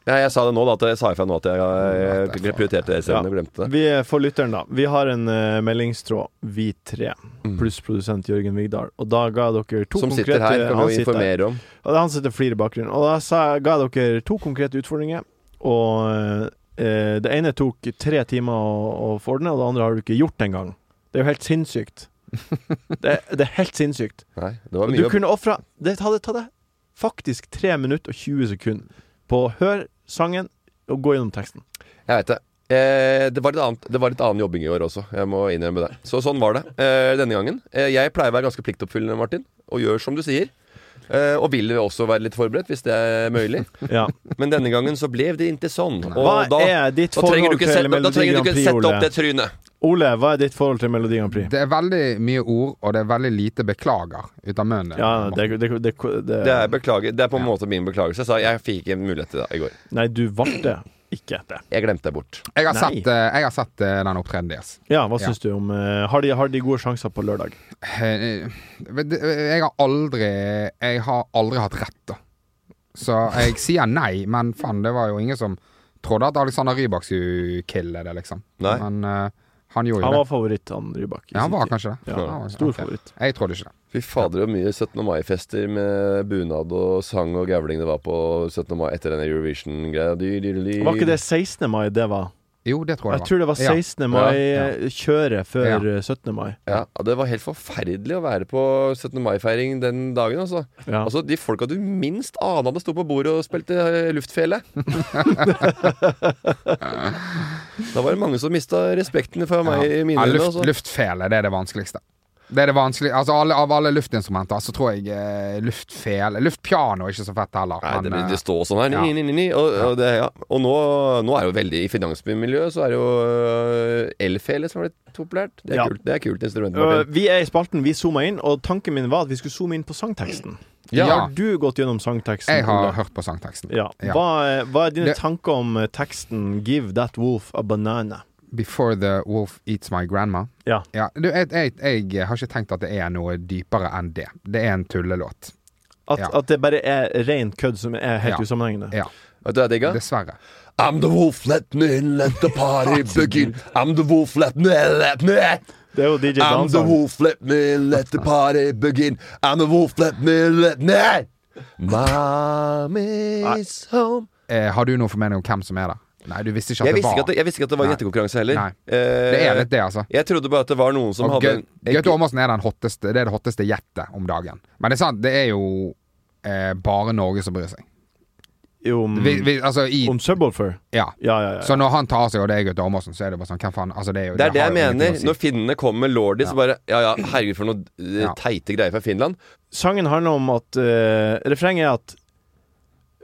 Nei, jeg sa det nå, da. At jeg sa ifra nå at jeg, jeg, jeg prioriterte det selv om Ja. jeg glemte det. Vi eh, for lytteren, da. Vi har en eh, meldingstråd, vi tre, pluss produsent Jørgen Vigdal. Og da ga jeg dere to Som sitter konkrete her, kan han vi jo sitter her. informere om. Og det er han som sitter og flirer i bakgrunnen. Og da sa, ga jeg dere to konkrete utfordringer og eh, Det ene tok tre timer å, å ordne, og det andre har du ikke gjort engang. Det er jo helt sinnssykt. Det, er- det er helt sinnssykt. Nei, det var Og du mye å- kunne ofra Det hadde tatt deg faktisk 3 minutter og 20 sekunder på å høre sangen og gå gjennom teksten. Jeg vet det. Eh, det, var litt annet, det var litt annen jobbing i år også. Jeg må innrømme det. Så sånn var det eh, denne gangen. Eh, jeg pleier å være ganske pliktoppfyllende, Martin, og gjør som du sier. Eh, og vil også være litt forberedt, hvis det er mulig. Ja. Men denne gangen så ble det ikke sånn. Og Hva da, er ditt da trenger forhold du ikke, til sette, da, da Melodi trenger du Grand ikke Prix, sette opp Ole? det trynet. Ole, hva er ditt forhold til Melodi Grand Prix? Det er veldig mye ord, og det er veldig lite beklager ut av munnen. Ja, det, det, det, det, Det er, beklager, det er på en måte min beklagelse. Så jeg fikk ikke mulighet til det i går. Nei, du valgte ikke det. Jeg glemte det bort. Jeg har Nei. sett, eh, jeg har sett eh, den opptredenen deres. Ja, hva Ja. syns du om eh, har, de, har de gode sjanser på lørdag? Eh, vet du, Jeg har aldri Jeg har aldri hatt rett, da. Så jeg sier nei, men faen, det var jo ingen som trodde at Alexander Rybak skulle kille det, liksom. Nei. Men eh, han gjorde Han jo var det. favoritt, han Rybak. i Ja, han sin var tid. kanskje det. Ja, Han var- stor ok. favoritt. Jeg trodde ikke det. Fy fader, hvor mye 17. mai-fester med bunad og sang og gavling det var på 17. mai etter denne Eurovision-greia. Dy, dy, dy, dy. Var ikke det 16. mai det var? Jo, det tror jeg, Jeg tror det var Ja. 16. mai-kjøret før Ja. eh, 17. mai. Ja, det var helt forferdelig å være på 17. mai-feiring den dagen, altså. Ja. Altså, De folka du minst ana det sto på bordet og spilte eh, luftfele. da var det mange som mista respekten for meg i mine Ja, øyne. luft, Altså. luftfele, det er det vanskeligste. Det er det vanskelig, altså alle, Av alle luftinstrumenter så tror jeg eh, luftfele Luftpiano er ikke så fett heller. Nei, det, men, eh, det står sånn her. Ni, ja. ni, ni, ni, og og, det, ja. og nå, nå er jo veldig I finansmiljøet så er det jo øh, elfele som er blitt populært. Det er Ja. kult, det er kult instrument. Øh, Martin. vi er i spalten, vi zooma inn, og tanken min var at vi skulle zoome inn på sangteksten. Ja. Har du gått gjennom sangteksten? jeg har Ole? hørt på sangteksten. ja. Ja. Hva, er- hva er dine Det- tanker om eh, teksten 'Give That Wolf a Banana'? Before the wolf eats my grandma. Ja. du, jeg, jeg, jeg har ikke tenkt at det er noe dypere enn det. Det er en tullelåt. At, Ja. at det bare er ren kødd som er helt Ja. usammenhengende? Ja, Vet du hva jeg digga? dessverre. I'm the wolf, let me in, let the party begin. I'm the wolf, let me in, let me in. Det er jo DJ I'm the Dansang. wolf, let me in, let the party begin. I'm the wolf, let me in, let me in. Mom is home. Eh, har du noen formening om hvem som er der? Nei, du visste ikke Jeg at det visste var ikke at det, jeg visste ikke at det var en Nei. gjettekonkurranse heller. Nei. Eh, Det er litt det, altså. Jeg trodde bare at det var noen som Og hadde en- Gaute- Gaute Åmåsen er, den hotteste, det er det hotteste gjettet om dagen. Men det er sant, det er jo eh, bare Norge som bryr seg. Om, Vi, vi, altså i Mm. om Subwoolfer? Ja. Ja, ja, ja. Så når han tar av seg, og det er Gaute Åmåsen, så er det bare sånn Hvem faen? Altså, det er jo Det er det har jeg jo ingenting mener. å si. Når finnene kommer med Lordi, så Ja. bare Ja ja, herregud, for noen eh, Ja. teite greier fra Finland. Sangen handler om at eh, Refrenget er at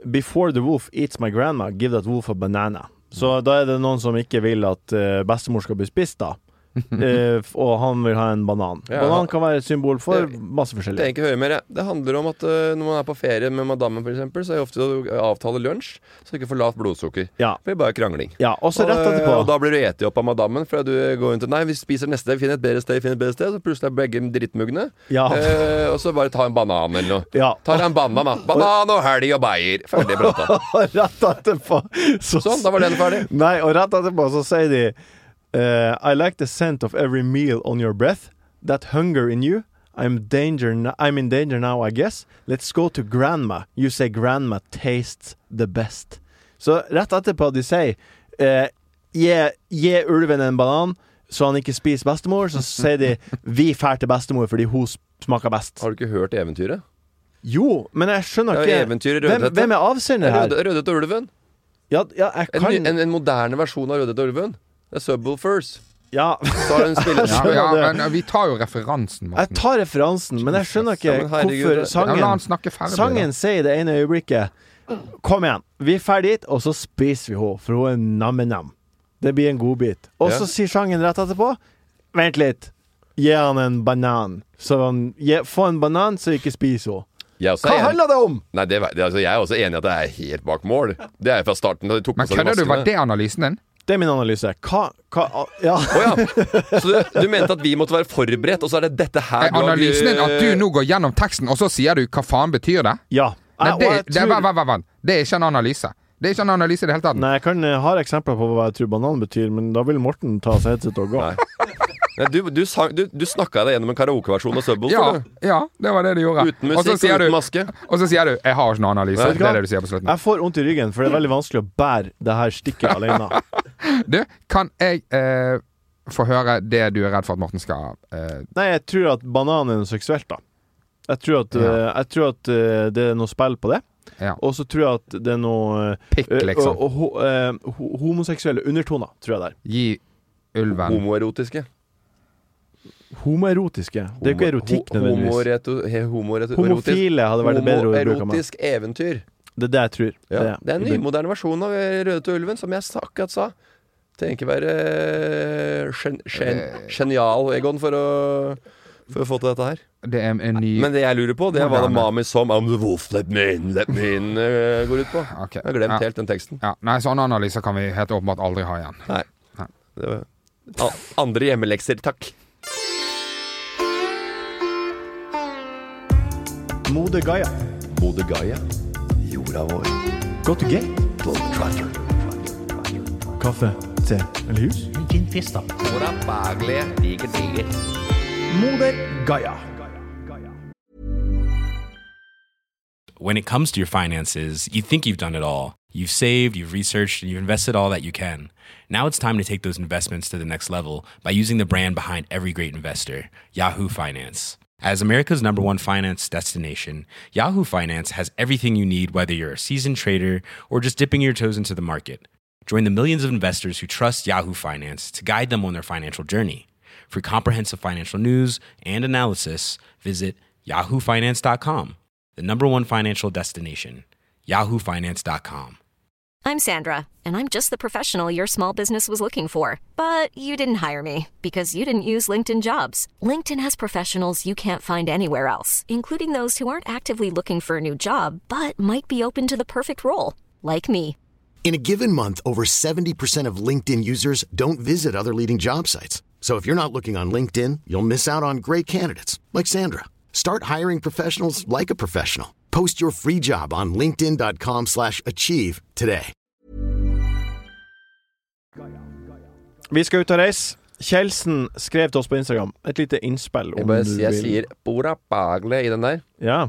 Before the wolf eats my grandma, give that wolf a banana. Mm. Så da er det noen som ikke vil at eh, bestemor skal bli spist, da. Eh, f- og han vil ha en banan. Ja, han- banan kan være et symbol for Det- masse Det forskjellig. trenger ikke høre mer. jeg. Det handler om at eh, når man er på ferie med madammen, f.eks., så er det ofte å avtale lunsj, så du ikke får lavt blodsukker. Ja. Det blir bare krangling. ja og så rett Og, eh, og etterpå da blir du eti opp av madammen, for at du går rundt og Nei, vi spiser neste, vi finner et bedre sted, vi finner et bedre sted. Så plutselig er begge drittmugne. Ja. Eh, og så bare ta en banan eller noe. Ja, Ta deg en banan, da. Banan og helg og bayer. Ferdig prata. og rett etterpå så, Sånn, da var den ferdig. Nei, og rett etterpå så sier de eh, I like the scent of every meal on your breath That hunger in you I'm, danger n- I'm in danger now, I guess Let's go to grandma You say grandma tastes the best Så rett etterpå de sier eh, gi, gi ulven en banan Så han ikke spiser bestemor Så sier de Vi fær til bestemor fordi hun s- smaker best Har du ikke hørt eventyret? Jo, men jeg skjønner Det er ikke jo eventyret i hvem, Rødhette. hvem er avsender her? Røde- Rødhette og ulven. Ja, ja, jeg En, ny- kan en, en moderne versjon av Rødhette og ulven. Det er Subwoolfers. Ja Så har hun spillet ja, skjønner ja, det. men vi tar jo referansen, Jeg Morten. tar referansen, men jeg skjønner ikke Ja, men herregud, hvorfor det- Ja, sangen la han snakke ferdig. Sangen da. sier i det ene øyeblikket Kom igjen, vi er ferdig dit, og så spiser vi henne, for hun er nam-nam. Det blir en godbit. Og Ja. så sier sangen rett etterpå Vent litt. Gi han en banan. Så han, gi, få en banan, så ikke spis henne. Jeg også Hva er enig. handler det om?! Nei, det, vet- altså, jeg er også enig i at det er helt bak mål. Det er jo fra starten. da De tok Men kødder du? Var det analysen din? Det er min analyse. Hva, hva ah, Ja. Å ja. Så du, du mente at vi måtte være forberedt, og så er det dette her Er analysen din at du nå går gjennom teksten, og så sier du hva faen betyr det? ja. Nei, Jeg- det, og jeg det, tror- vent, vent, vent. det er ikke en analyse. Det er ikke en analyse i det hele tatt. Nei, jeg kan, jeg har eksempler på hva jeg tror banan betyr, men da vil Morten ta seg headset og gå. Nei. Nei, du, du, sang- du, du snakka deg gjennom en karaokeversjon av Subwool. Ja, tror du? ja, det var det du gjorde. Uten musikk Og så og sier uten du- maske. Og så sier du 'jeg har ikke noen analyse'. Vet du Det hva? er det du sier på slutten. Jeg får vondt i ryggen, for det er veldig vanskelig å bære det her stikket alene. Du, kan jeg eh, få høre det du er redd for at Morten skal eh, Nei, jeg tror at banan er noe seksuelt, da. Jeg tror at, Ja. eh, jeg tror at eh, det er noe spill på det. Ja. Og så tror jeg at det er noe eh, Pikk, liksom. Og, og, ho- eh, ho- homoseksuelle undertoner, tror jeg det er. Gi ulven Homoerotiske. Homoerotiske. Det er jo ikke erotikk, Ho- nødvendigvis. homoreto- he- homoreto- erotisk- Homofile hadde vært et bedre ord å bruke om meg. Homoerotisk eventyr. Det er det jeg tror. Ja, det, er en i bunn. nymoderne versjon av eh, Røde til ulven, som jeg sa- akkurat sa. Trenger ikke være eh, gen, gen, genial, Egon, for å, for å få til dette her. Det er en ny Men det jeg lurer på, det er hva det Moderne. Mami som I'm the wolf, let me in, let me in eh, går ut på. Ah, Ok, Jeg har glemt ja. helt den teksten. Ja, nei, sånne analyser kan vi helt åpenbart aldri ha igjen. Nei. Nei. Det var, A- andre hjemmelekser, takk. Mode Gaia. Bodø Gaia, jorda vår. Go to gate. Kaffe, te eller hus? Ginfister. Mode Gaia. When it comes to your finances, you think you've done it all. You've saved, you've researched, and you've invested all that you can. Now it's time to take those investments to the next level by using the brand behind every great investor, Yahoo Finance. As America's number one finance destination, Yahoo Finance has everything you need, whether you're a seasoned trader or just dipping your toes into the market. Join the millions of investors who trust Yahoo Finance to guide them on their financial journey. For comprehensive financial news and analysis, visit yahoofinance.com, the number one financial destination, yahoofinance.com. I'm Sandra, and I'm just the professional your small business was looking for. But you didn't hire me because you didn't use LinkedIn jobs. LinkedIn has professionals you can't find anywhere else, including those who aren't actively looking for a new job but might be open to the perfect role, like me. In a given month, over 70% of LinkedIn users don't visit other leading job sites. So if you're not looking on LinkedIn, you'll miss out on great candidates like Sandra. Start hiring professionals like a professional. Post your free job on linkedin.com/achieve slash achieve today. Vi skal ut og reise. Kjeldsen skrev til oss på Instagram et lite innspill. Jeg, om bare, du jeg vil. sier Bora Bagle i den der. Ja.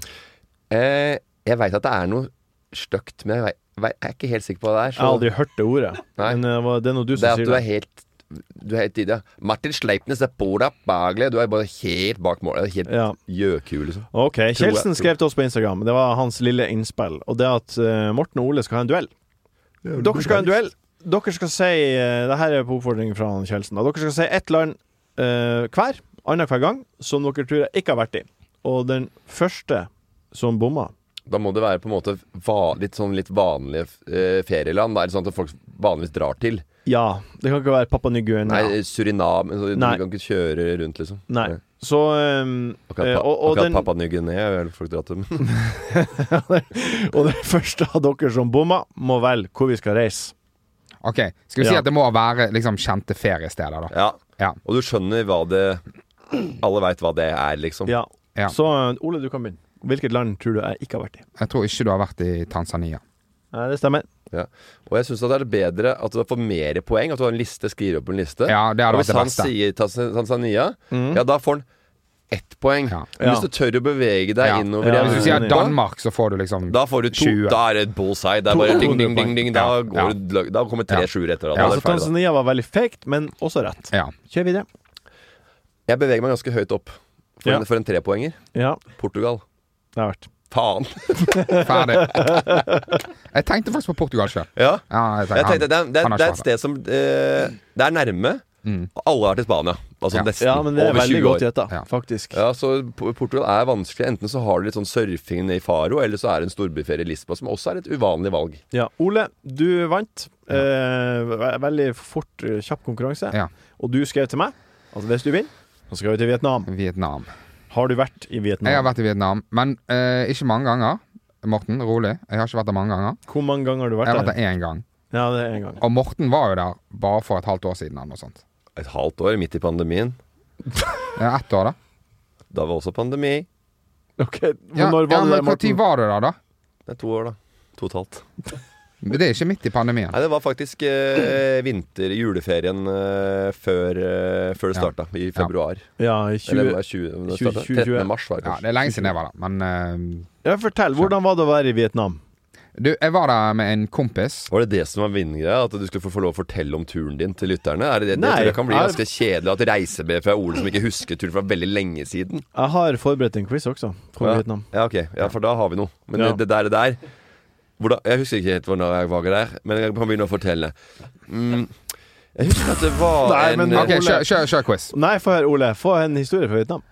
Eh, jeg veit at det er noe stygt, men jeg, vei- vei- jeg er ikke helt sikker på hva det er. Jeg har aldri hørt det ordet. Nei. Men eh, hva- det er noe du det som er at sier du er det. helt Du er helt i det. Martin Sleipnes er Bora Bagle. Du er bare helt bak målet. Helt Ja. gjøkul, liksom. Ok, jeg, Kjeldsen tror. skrev til oss på Instagram. Det var hans lille innspill. Og det er at eh, Morten og Ole skal ha en duell. Dere skal ha en duell. Dere skal si eh, Det her er på oppfordring fra han Kjeldsen. da. Dere skal si ett land eh, hver, annenhver gang, som dere tror jeg ikke har vært i. Og den første som bomma Da må det være på en måte va litt sånn litt vanlige eh, ferieland. Da er det sånn at folk vanligvis drar til. Ja, det kan ikke være Pappa Ny-Guinea. Nei, Surinam så Du Nei. kan ikke kjøre rundt, liksom. Nei. Så ehm, eh, Akkurat, pa og, og, akkurat den, Papua Ny-Guinea har folk dratt til. men- og den første av dere som bomma, må velge hvor vi skal reise. Ok, Skal vi si Ja. at det må være liksom, kjente feriesteder, da? ja. Ja. Og du skjønner hva det Alle veit hva det er, liksom. Ja. Ja. Så eh, Ole, du kan begynne. Hvilket land tror du jeg ikke har vært i? Jeg tror ikke du har vært i Tanzania. Nei, det stemmer. Ja. Og jeg syns det er bedre at du får mer poeng, at du har en liste, skriver opp en liste. Ja, det hadde og vært hvis det han beste. sier Tans- Tanzania, ja, da får han ett poeng. Ja. Men Mm. Ja. hvis du tør å bevege deg Ja. innover Ja. i Hvis Europa, du sier Danmark, så får du liksom da får du to. 20. Da er det et bullseye. Det er bare ding, ding, ding, ding. Da, Ja. går du lø- da kommer Ja. tre sjuer etter hverandre. Ja, så Da er Altså, du ferdig, da. Tanzania var veldig fake, men også rett. Ja. Kjør videre. Jeg beveger meg ganske høyt opp for, Ja. en, for en trepoenger. Ja, Portugal. det har vært. Faen. Ferdig. Jeg tenkte faktisk på Portugal sjøl. Ja. Ja, Jeg tenkte, det, er, det, er, han har det er ikke et sted som eh, Det er nærme. Mm. Alle har vært i Spania. Altså Ja. nesten. Ja, men det er Over veldig 20 år. godt gjetta, Ja. faktisk. Ja, så P- Portugal er vanskelig. Enten så har du litt sånn surfing i Faro, eller så er det en storbyferie i Lisboa, som også er et uvanlig valg. Ja. Ole, du vant. Eh, ve- veldig fort, eh, kjapp konkurranse. Ja. Og du skrev til meg at hvis du vinner, så skal vi til Vietnam. Vietnam. Har du vært i Vietnam? Jeg har vært i Vietnam, men eh, ikke mange ganger. Morten, rolig. Jeg har ikke vært der mange ganger. Hvor mange ganger har du Jeg har vært vært der? der én gang. Ja, det er en gang. Og Morten var jo der bare for et halvt år siden eller noe sånt. Et halvt år midt i pandemien. Ja, Ett år, da. Da var også pandemi. Ok, Ja, Når var ja, du men der, Når Morten? var du der, da? Det er to år, da. To og et halvt. Men det er ikke midt i pandemien. Nei, det var faktisk eh, vinter, juleferien eh, før, eh, før det Ja. starta, i februar. Ja, i Eller 20... var det 20, når det 20, startet? 20, 13. mars, var det Ja, kanskje. det er lenge siden jeg var der, men eh, ja, fortell, hvordan var det å være i Vietnam? Du, jeg var der med en kompis. Var det det som var vinnergreia? At du skulle få- få lov å fortelle om turen din til lytterne? Er det det, det, Nei. tror jeg kan bli Nei. ganske kjedelig at reisebrev fra Ole som ikke husker turen fra veldig lenge siden. Jeg har forberedt en quiz også, fra ja. Vietnam. ja, ok. Ja, for da har vi noe. Men Ja. det, det der, det der hvordan, Jeg husker ikke helt hvordan jeg var der, men jeg kan begynne å fortelle. Mm, jeg husker at det var Nei, en men- Ok, kjør, kjør, kjør quiz. Nei, få høre, Ole. Få en historie fra Vietnam.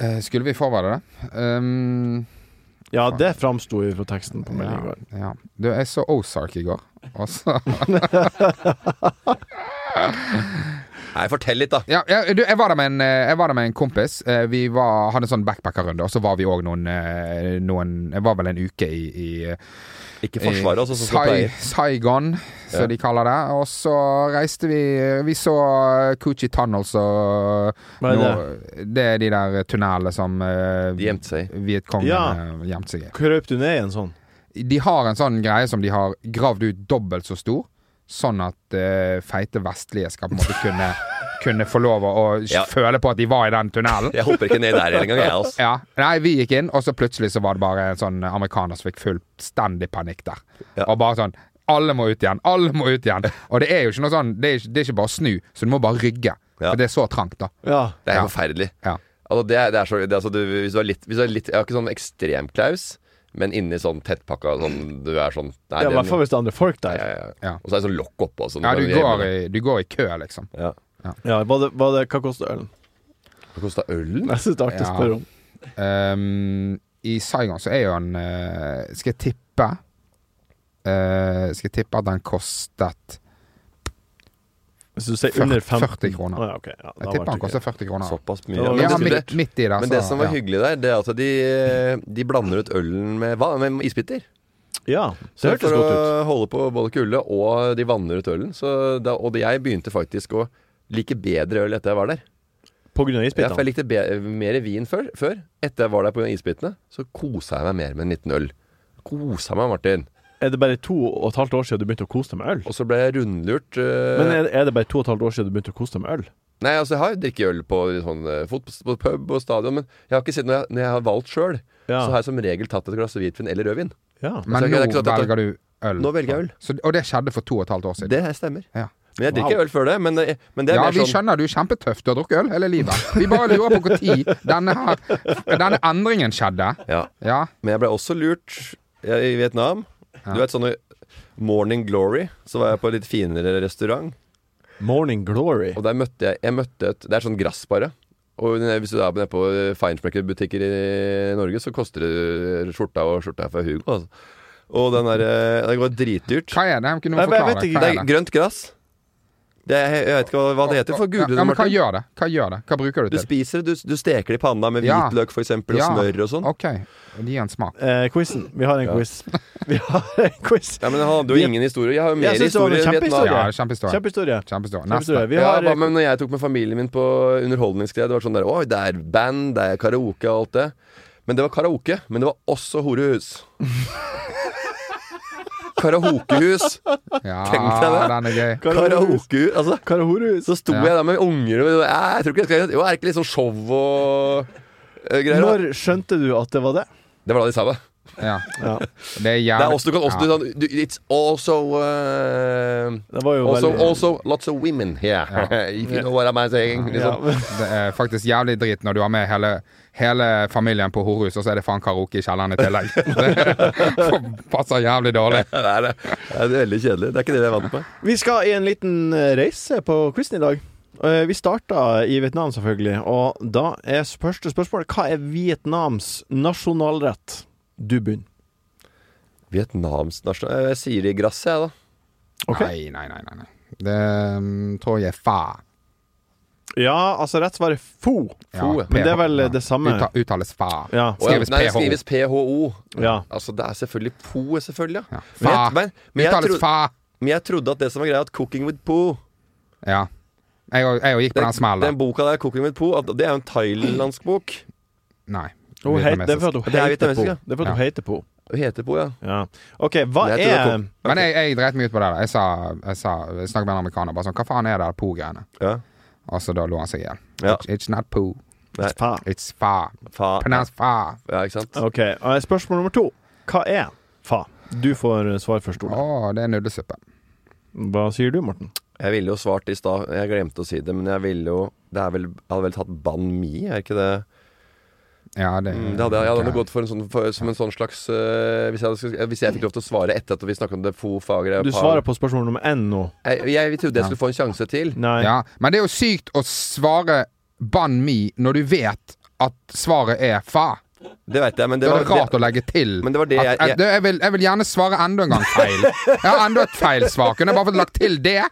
Eh, skulle vi forberede det? Um, Ja, det framsto jo fra teksten på meldingen i ja, går. ja. Du, jeg så Ozark i går, og så Nei, fortell litt, da. Ja, ja du, jeg, var der med en, eh, jeg var der med en kompis. Eh, Vi var, hadde en sånn backpackerrunde, og så var vi òg noen, eh, noen Jeg var vel en uke i, i, Ikke i Forsvaret, altså, som Sai- pleier. Saigon, som Ja. de kaller det. Og så reiste vi Vi så Coochie Tunnels og Hva er det? det er de der tunnelene som eh, De gjemte seg. Vietkongen Ja. eh, gjemte seg i. Krøp du ned i en sånn? De har en sånn greie som de har gravd ut dobbelt så stor, sånn at eh, feite vestlige skal på en måte kunne, kunne få lov å å Ja. føle på at de var i den tunnelen. Jeg hopper ikke ned der engang, jeg, altså. Ja. Nei, vi gikk inn, og så plutselig så var det bare en sånn amerikaner som fikk fullstendig panikk der. Ja. Og bare sånn Alle må ut igjen! Alle må ut igjen! Og det er jo ikke noe sånn Det er ikke, det er ikke bare å snu, så du må bare rygge. Ja. For det er så trangt, da. Ja. Det er Ja. forferdelig. Ja. Altså, det er, det er så, det er, altså, du, hvis du er litt, hvis du er litt Jeg har ikke sånn ekstremklaus, men inni sånn tettpakka sånn, Du er sånn Nei, Ja, I den- hvert fall hvis det er andre folk ja, der. ja, ja. Ja. Og så er det sånn lokk oppå. Sånn, Ja, du kan går, gjemme i, det. du går i kø, liksom. Ja. Ja, var det, var det, hva kosta ølen? Hva kosta ølen? Jeg syns det er artig å Ja. spørre om. Ehm, I Saigon så er jo han eh, Skal jeg tippe eh, Skal jeg tippe at han kostet Hvis du sier 40 under 15 40 kroner. Ah, ja, ok. Ja, da Jeg var tipper det han ikke- kostet 40 kroner. Såpass Det mye. var Ja, Ja, ganske men, midt, det, midt i det. men det så, som var ja. hyggelig der, det er at de, de blander ut ølen med hva? Med isbiter. Ja, det hørtes for godt ut. å holde på både kulde, og de vanner ut ølen. Så da, og jeg begynte faktisk å like bedre øl etter jeg var der. På grunn av Ja, for isbitene? jeg likte be mer vin før, før. Etter jeg var der pga. isbitene, så kosa jeg meg mer med en liten øl. Kosa meg, Martin. Er det bare to og et halvt år siden du begynte å kose deg med øl? Og så ble jeg rundlurt. eh, Men er, er det bare to og et halvt år siden du begynte å kose deg med øl? Nei, altså jeg har jo drikket øl på, sånn, eh, fot på pub og stadion, men jeg har ikke sett når jeg, når jeg har valgt sjøl, Ja. så har jeg som regel tatt et glass hvitvin eller rødvin. Ja. Så det Men nå er ikke sånn at dette- velger du øl. Nå velger jeg øl. Så, og det skjedde for to og et halvt år siden. Det her stemmer. Ja. Men jeg drikker Wow. øl før det, men, eh, men det er Ja, mer vi sånn skjønner du er kjempetøff. Du har drukket øl hele livet. Vi bare lurer på når denne, her- denne endringen skjedde. ja. Ja. Men jeg ble også lurt eh, i Vietnam. Du vet sånne Morning Glory, så var jeg på en litt finere restaurant. Morning Glory. Og der møtte jeg, jeg møtte et, Det er sånn gress bare Og når jeg- hvis du er nede på Feinschmecker-butikker i Norge Så koster det skjorta og skjorta er fra Hugo altså. Og den der eh, Det går dritdyrt Hva er det? Kan du Nei, men jeg forklare? vet ikke. Hva Det er er det? grønt gress det er, Jeg vet ikke hva, hva det heter For Ja, google det, ja, men hva Martin gjør det? Hva gjør det? Hva bruker Du du til? spiser det, du, du steker det i panna med Ja. hvitløk for eksempel Og Ja. smør og sånn OK. Gi en smak. Eh, quizen. Vi har en quiz. Vi har en quiz. Ja, men jeg hadde jo ingen historie Jeg har jo mer Jeg synes det var en historie i kjempehistorie. Vietnam Ja, kjempehistorie. Kjempehistorie. Kjempehistorie. Neste. Kjempehistorie. Vi ja, har hva, men når jeg tok med familien min på underholdningsgreier, det var sånn der Oi, det er band, det er karaoke og alt det. Men det var karaoke, men det var også horehus. Karaokehus. Ja, Tenk deg det. den er gøy. Karahorus. Karaokehus. Altså, Karahorus. så sto Ja. jeg der med unger og «Æ, jeg tror ikke jeg skal Jo, er det ikke litt sånn show og eh, greier? da?» Når skjønte du at det var det? Det var da de sa det. Ja. Ja. Det er Det jævlig er også, du kan også ja. du, sånn, du, It's also eh, Det var jo Also, veldig also lots of women here. If you know what I'm saying. ja. Liksom. Det er faktisk jævlig drit når du har med hele, hele familien på horhus, og så er det faen karaoke i kjelleren i tillegg. Det passer jævlig dårlig. Det, er, det Det er veldig kjedelig. Det er ikke det vi er vant med. Vi skal i en liten eh, reise på quizen i dag. Eh, Vi starta i Vietnam, selvfølgelig. Og da er s- første spørsmål Hva er Vietnams nasjonalrett? Du begynner. Vietnams nasjonal... Jeg sier det i gresset, jeg, da. Ok. Nei, nei, nei. nei, nei. Det mm, tror jeg er fa. Ja, altså rett svar er fo. Fo, PH, Men det er vel ja. det samme. Utta, uttales fa. Ja. Å, ja. Skrives Nei, det PHO. skrives PHO. ja. Altså, det er selvfølgelig Po, selvfølgelig. Ja. Ja. Men, Fa. jeg, men, men, jeg uttales trodde, fa. men jeg trodde at det som var greia, at Cooking with Po Ja. Jeg òg- jeg òg gikk på Den, den smellen. den boka der, Cooking with Po, at det er jo en thailandsk bok. Nei. Hun het, det er vietnamesisk. for at hun Det er heter Po. vietnamesisk, ja. Det er for at hun Ja. heter Po. Hun heter på, ja. Ja. OK, hva Jeg tror det er kom- Men jeg, jeg dreit meg ut på det. der Jeg sa, jeg sa jeg snakket med en amerikaner. Bare sånn, Hva faen er det der po-greiene? ja. Og så da lå han seg i hjel. Ja. It's, it's not po, Nei, Faen. it's fa. fa. Pronounce fa. Ja, ikke sant? OK, eh, spørsmål nummer to. Hva er fa? Du får eh, svar først, Å, Ole. det er nudelsuppe. Hva sier du, Morten? Jeg ville jo svart i stad, jeg glemte å si det, men jeg ville jo Det er vel Jeg hadde vel tatt ban mi, er ikke det? Ja, det, Mm, det hadde, jeg jeg hadde gått for en sånn, for, som en sånn slags øh, hvis, jeg hadde, skulle- hvis jeg fikk lov til å svare etter at vi snakket om det fo fagre Du svarer på spørsmål nummer én nå. jeg, jeg, vi trodde jeg skulle få en sjanse til. Nei. Ja, men det er jo sykt å svare ban mi når du vet at svaret er fa. Det veit jeg, men Det det er var det rart å legge til. men det var det at, jeg- at, jeg- du, jeg, vil, jeg vil gjerne svare enda en gang feil. Jeg har enda et feil svar. Kunne jeg bare fått lagt til det?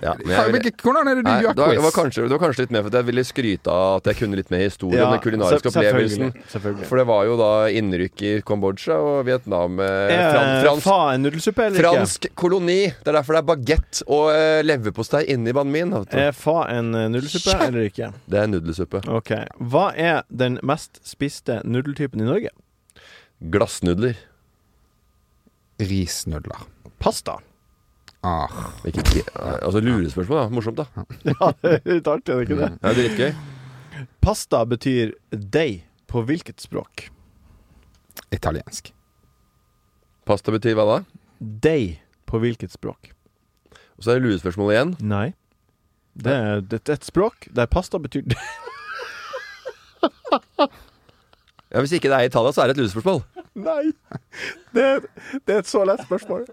ja, men jeg ville- Hvilke, hvordan er det du Nei, gjør det var, det, var quiz? kanskje, det var kanskje litt mer for at jeg ville skryte av at jeg kunne litt mer historie om den kulinariske se- selvfølgelig, opplevelsen. Selvfølgelig. For det var jo da innrykk i Kambodsja og Vietnam. Eh, fran, Er fransk, fa en nudelsuppe eller ikke? fransk koloni. Det er derfor det er bagett og eh, leverpostei inni banh min. vet du. Er fa en eh, nudelsuppe eller ikke? Det er nudelsuppe. OK. Hva er den mest spiste nudeltypen i Norge? Glassnudler. Risnudler. Pasta. Ah. Ikke, altså lurespørsmål, da. Morsomt, da. Ja, det er litt artig, er det ikke det? Det er dritgøy. Pasta betyr deig på hvilket språk? Italiensk. Pasta betyr hva da? Deig på hvilket språk? Og så er det lurespørsmål igjen. Nei. Det er, det er et språk der pasta betyr deig. Ja, Hvis ikke det er i Italia, så er det et lurespørsmål. Nei. Det er, det er et så lett spørsmål.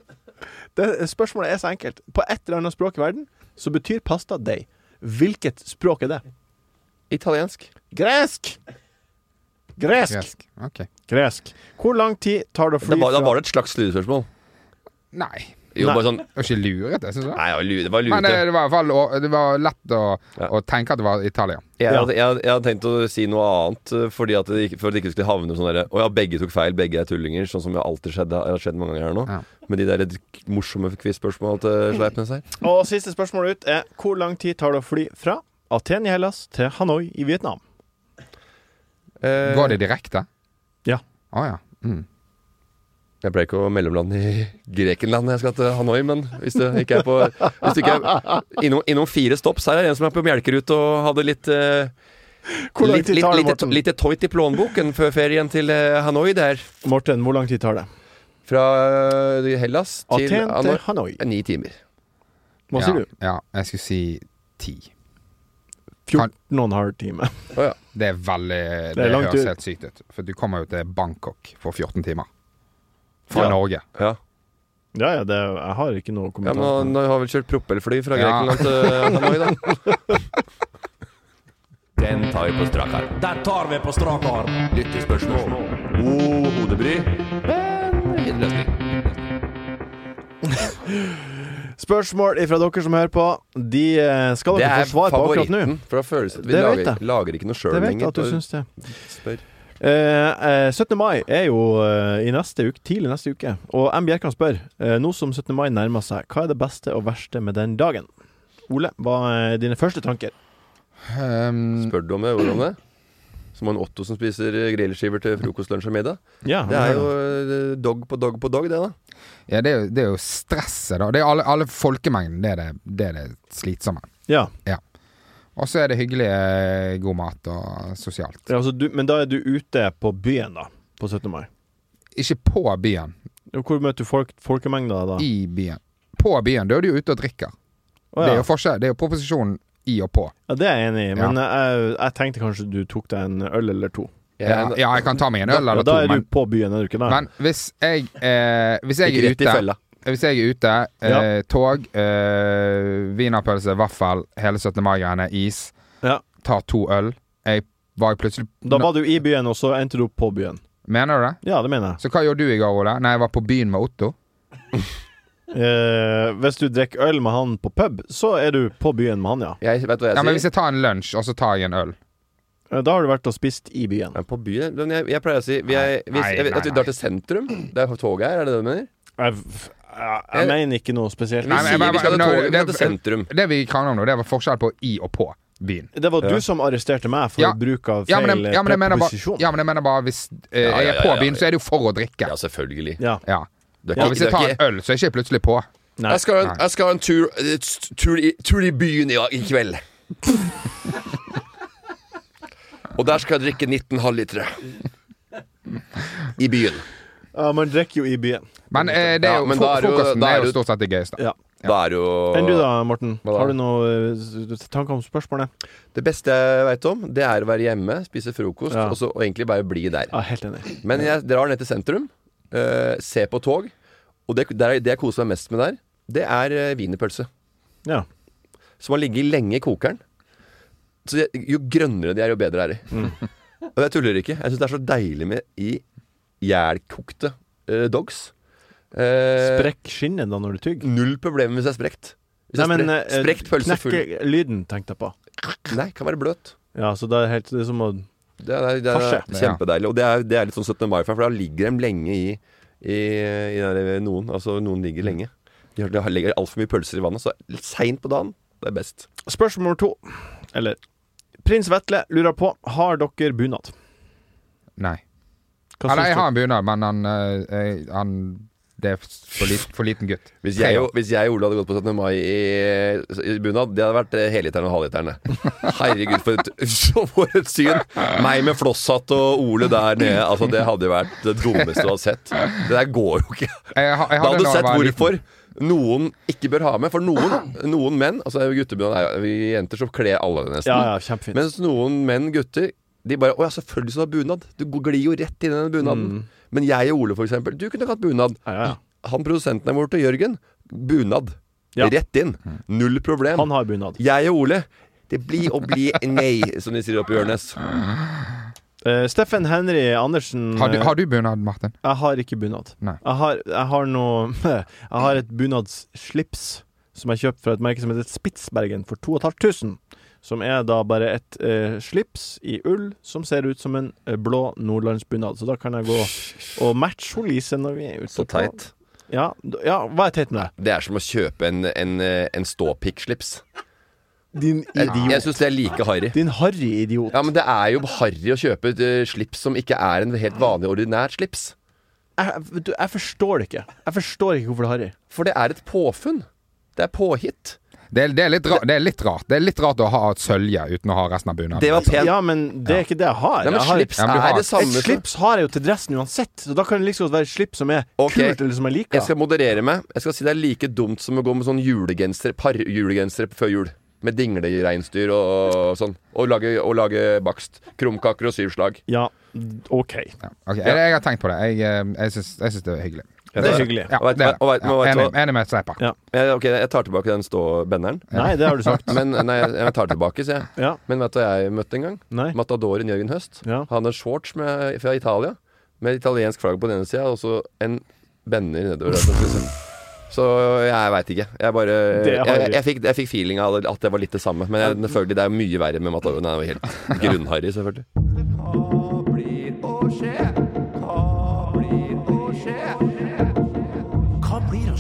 Det, spørsmålet er så enkelt. På et eller annet språk i verden så betyr pasta deig. Hvilket språk er det? Italiensk. Gresk! Gresk! Gresk. Ok. Gresk. Hvor lang tid tar det å Det fly var, da fra var det et slags lurespørsmål. Nei. Jo, Nei. bare sånn Det var ikke lurete, syns jeg. Nei, det var lu- det var Men lurete. det, det var i hvert fall å- det var lett å, Ja. å tenke at det var Italia. Jeg, Ja. hadde, jeg, jeg hadde tenkt å si noe annet eh, fordi at det, ikke- for at det ikke skulle havne sånn derre Å ja, begge tok feil, begge er tullinger, sånn som det alltid skjedde, har skjedd mange ganger her nå. Ja. Med de der litt morsomme quiz-spørsmål til Sleipnes her. Og siste spørsmål ut er hvor lang tid tar det å fly fra Aten i Hellas til Hanoi i Vietnam? Eh, Går det direkte? Ja. Å ja. Mm. Jeg pleier ikke å mellomlande i Grekenland når jeg skal til Hanoi, men hvis det ikke er på Hvis det ikke er innom, innom fire stopps Her er det en som er på Mjelkerut og hadde litt eh, Hvor lang Litt, tid litt, tar det, litt, Morten? litt toit i plånboken før ferien til eh, Hanoi der. Morten, hvor lang tid tar det? Fra eh, Hellas til Aten til Hanoi. Hanoi. Ni timer. Hva ja, sier du? Ja, jeg skulle si ti. 14 og en halv time. Å ja. Det er veldig Det er Det, langt høres ut. helt sykt ut. For du kommer jo til Bangkok på 14 timer. Fra Ja. Norge. ja. Ja, ja, det, jeg har ikke noe Ja, kommentar. men han han har vel kjørt propellfly fra Ja. Grekenland til eh, Hanoi, da. Den tar vi på strak arm. Den tar vi på strak arm. Lyttespørsmål. God hodebry. Spørsmål fra dere som hører på. De eh, skal Det dere er få svar på akkurat nå. favoritten. For da føles det Vi Det vet lager, jeg. lager ikke noe sjøl Det vet jeg lenger. at du syns det. Spør. Eh, eh, 17. mai er jo eh, i neste uke, tidlig neste uke. Og M. Bjerkan spør, eh, nå som 17. mai nærmer seg, hva er det beste og verste med den dagen? Ole, hva er dine første tanker? Um, Spør du om det? Hvor om det? Som en Otto som spiser eh, grillskiver til frokost, lunsj og middag. Ja, Det er jo eh, dog på dog på dog, det, da. ja, det, er jo, det er jo stresset, da. Det er alle, alle folkemengden. Det er det, det er det slitsomme. ja. Og så er det hyggelig eh, god mat og sosialt. Ja, altså, du, Men da er du ute på byen, da. På 17. mai. Ikke på byen. Hvor møter du folk, folkemengda da? I byen. På byen. Da er du jo ute og drikker. Å, Det er ja. jo forskjell. Det er jo proposisjonen i og på. ja, det er jeg enig i, men jeg, jeg tenkte kanskje du tok deg en øl eller to. Ja, Jeg- ja jeg kan ta meg en øl Ja, eller da to, er men, du på byen, er du ikke det? men hvis jeg, eh, hvis jeg Ikke er rett i ute fella. Hvis jeg er ute, eh, tog, eh, wienerpølse, vaffel, hele 17. mai-greiene, is, Ja. tar to øl Jeg var jo plutselig Da var du i byen, og så endte du opp på byen. Mener du det? Ja, det mener jeg. Så hva gjorde du i går, Ole? Nei, jeg var på byen med Otto. Eh, hvis du drikker øl med han på pub, så er du på byen med han, ja. Jeg vet du hva jeg Ja, men hvis sier. jeg tar en lunsj, og så tar jeg en øl Eh, Da har du vært og spist i byen. Nei, på byen men jeg, jeg pleier å si vi er, hvis, Nei, jeg, vet nei, At vi nei. drar til sentrum. Det er toget her, er det det du mener? Jeg, f- jeg, jeg mener ikke noe spesielt. Vi Eh, Nei, men- sier men- vi skal men- til toget, vi det- skal til sentrum. Det vi krangla om nå, det var forskjell på i og på. byen. Det var du som arresterte meg for Ja. bruk av Ja, feil men jeg, ja, men jeg mener bare, preposisjon. ja, men jeg mener bare hvis eh, eh, Ja, ja, jeg er på ja, ja, byen, så er det jo for å drikke. Ja, selvfølgelig. Ja. Ja. Det er ikke- Og det hvis jeg er tar ikke- en øl, så er jeg ikke plutselig på. Nei. Jeg skal, ha en- Nei. jeg skal ha en tur, eh, t- tur, i, tur i byen i, i kveld. Og der skal jeg drikke 19 halvlitere. I byen. Ja, man drikker jo i byen. Men eh, det er Ja, jo, men fro- da er jo- frokosten da er er jo jo- stort sett det gøyeste. Ja. Da er jo Enn du da, Morten? Hva da? Har du noen tanker om spørsmålet? Det beste jeg veit om, det er å være hjemme, spise frokost Ja. og, så, og egentlig bare bli der. Ja, helt enig. Men jeg drar ned til sentrum, eh, ser på tog, og det, der, det jeg koser meg mest med der, det er eh, wienerpølse. Ja. Som har ligget lenge i kokeren. Så jeg, jo grønnere de er, jo bedre er de. Mm. og jeg tuller ikke. Jeg syns det er så deilig med i jævlkokte eh, dogs. Eh, Sprekk skinnet da når du tygger. Null problem hvis det er sprekt. Hvis det Nei, er men sprekt, eh, sprekt pølse full Knekke lyden, tenkte jeg på. Nei, kan være bløt. Ja, så det er helt det er som å Det er, det er Farse. kjempedeilig. Og det er, det er litt sånn 17. mai-feil, for da ligger de lenge i, i, i den der, noen. Altså, noen ligger lenge. De har- de har- legger altfor mye pølser i vannet, så litt seint på dagen, det er best. Spørsmål nummer to. Eller Prins Vetle lurer på Har dere bunad. Nei. Hva Eller jeg syns har en bunad, men han, eh, jeg- han Det er for, lit, for liten gutt. Hvis Tre jeg, år. og- hvis jeg og Ole hadde gått på 17. mai i, i bunad, det hadde vært eh, helliterne og halvliterne. Herregud, for et, så for et syn! Meg med flosshatt og Ole der nede. Altså, det hadde jo vært det dummeste du hadde sett. Det der går jo ikke. Jeg ha- jeg Da hadde hadde du da jeg sett var liten. hvorfor noen ikke bør ha med. For noen, noen menn Altså guttebunad er jo Vi jenter så kler alle det nesten. Ja, ja, kjempefint. Mens noen menn, gutter, de bare Å ja, selvfølgelig skal du ha bunad. Du glir jo rett inn i den bunaden. Men jeg og Ole, for eksempel, du kunne ikke hatt bunad. Mm. Ja, ja, ja. Han produsenten der borte, Jørgen, bunad. Ja. Rett inn. Null problem. Han har bunad. Jeg og Ole, det blir å bli nei, som de sier oppe i Ørnes. Eh, Steffen Henry Andersen Har du, eh, har du bunad, Martin? Jeg har ikke bunad. Nei. Jeg har, jeg har noe Jeg har et bunadsslips som jeg kjøpte fra et merke som heter Spitsbergen for 2500. Som er da bare et eh, slips i ull som ser ut som en eh, blå nordlandsbunad. Så da kan jeg gå og matche hun Lise når vi er ute. Så på- teit. Ja, d- ja, hva er teit med det? Det er som å kjøpe en, en, en ståpikkslips. Din Jeg idiot. syns det er like harry. Din harry idiot. Ja, men det er jo harry å kjøpe et eh, slips som ikke er en helt vanlig ordinært slips. Jeg, du, jeg forstår det ikke. Jeg forstår ikke hvorfor det er harry. For det er et påfunn. Det er påhitt. Det er, det, er litt ra, det er litt rart. Det er litt rart å ha et sølje uten å ha resten av bunaden. altså. Det var pent. altså, Ja, men det er ikke det jeg har. Nei, men jeg har slips Ja, men du har- er det samme Et slips har jeg jo til dressen uansett, så da kan det liksom være et slips som er Ok. kult, eller som jeg liker. Jeg skal moderere meg. Jeg skal si det er like dumt som å gå med sånn julegenser, par julegenser før jul. Med dinglereinsdyr og, og sånn. Og lage, og lage bakst. Krumkaker og syvslag. Ja, OK. Ja, ok. Jeg, jeg har tenkt på det. Jeg, eh, jeg, syns, jeg syns det er hyggelig. det er hyggelig. Ja, Og vet- det er, og vet- det. og ja, vet enig, du hva- enig med Sleiper. Ja. Jeg, ok, jeg tar tilbake den stå-benneren. Nei, det har du sagt. Men nei, jeg tar tilbake, sier jeg. Ja. Men vet du hva jeg møtte en gang? Nei. Matadoren Jørgen Høst. Ja. Han hadde shorts med, fra Italia, med italiensk flagg på den ene sida, og så en bender nedover. der, som skulle se. Så jeg veit ikke. Jeg bare Det Jeg, har vi. jeg, fikk, jeg fikk feeling av at det var litt det samme. Men jeg, selvfølgelig, det er mye verre med Matadoren. Han er jo helt grunnharry, selvfølgelig. Hva blir å skje? Hva blir å skje? Hva blir å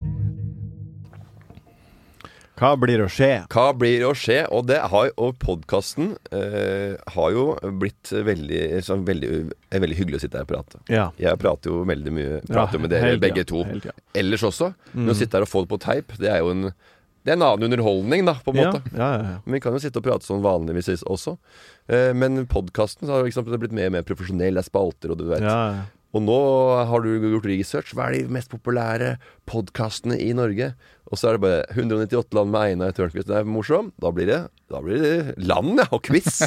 Hva blir å skje? Hva blir å skje? Og, det har, og podkasten eh, har jo blitt veldig, så veldig er veldig hyggelig å sitte her og prate. Ja. Jeg prater jo veldig mye prater jo med dere hele tida, begge to. hele tida. Ellers også. Men å sitte her og få det på teip, det er jo en, det er en annen underholdning, da, på en Ja, måte. ja, ja, ja. Men vi kan jo sitte og prate sånn vanligvis også. Eh, men podkasten har liksom det blitt mer og mer profesjonell. Det er spalter, og du vet. ja. ja. Og nå har du gjort research. Hva er de mest populære podkastene i Norge? Og så er det bare 198 land med Einar Tørnquist. Det er morsom. Da blir det, da blir det land, ja. Og quiz.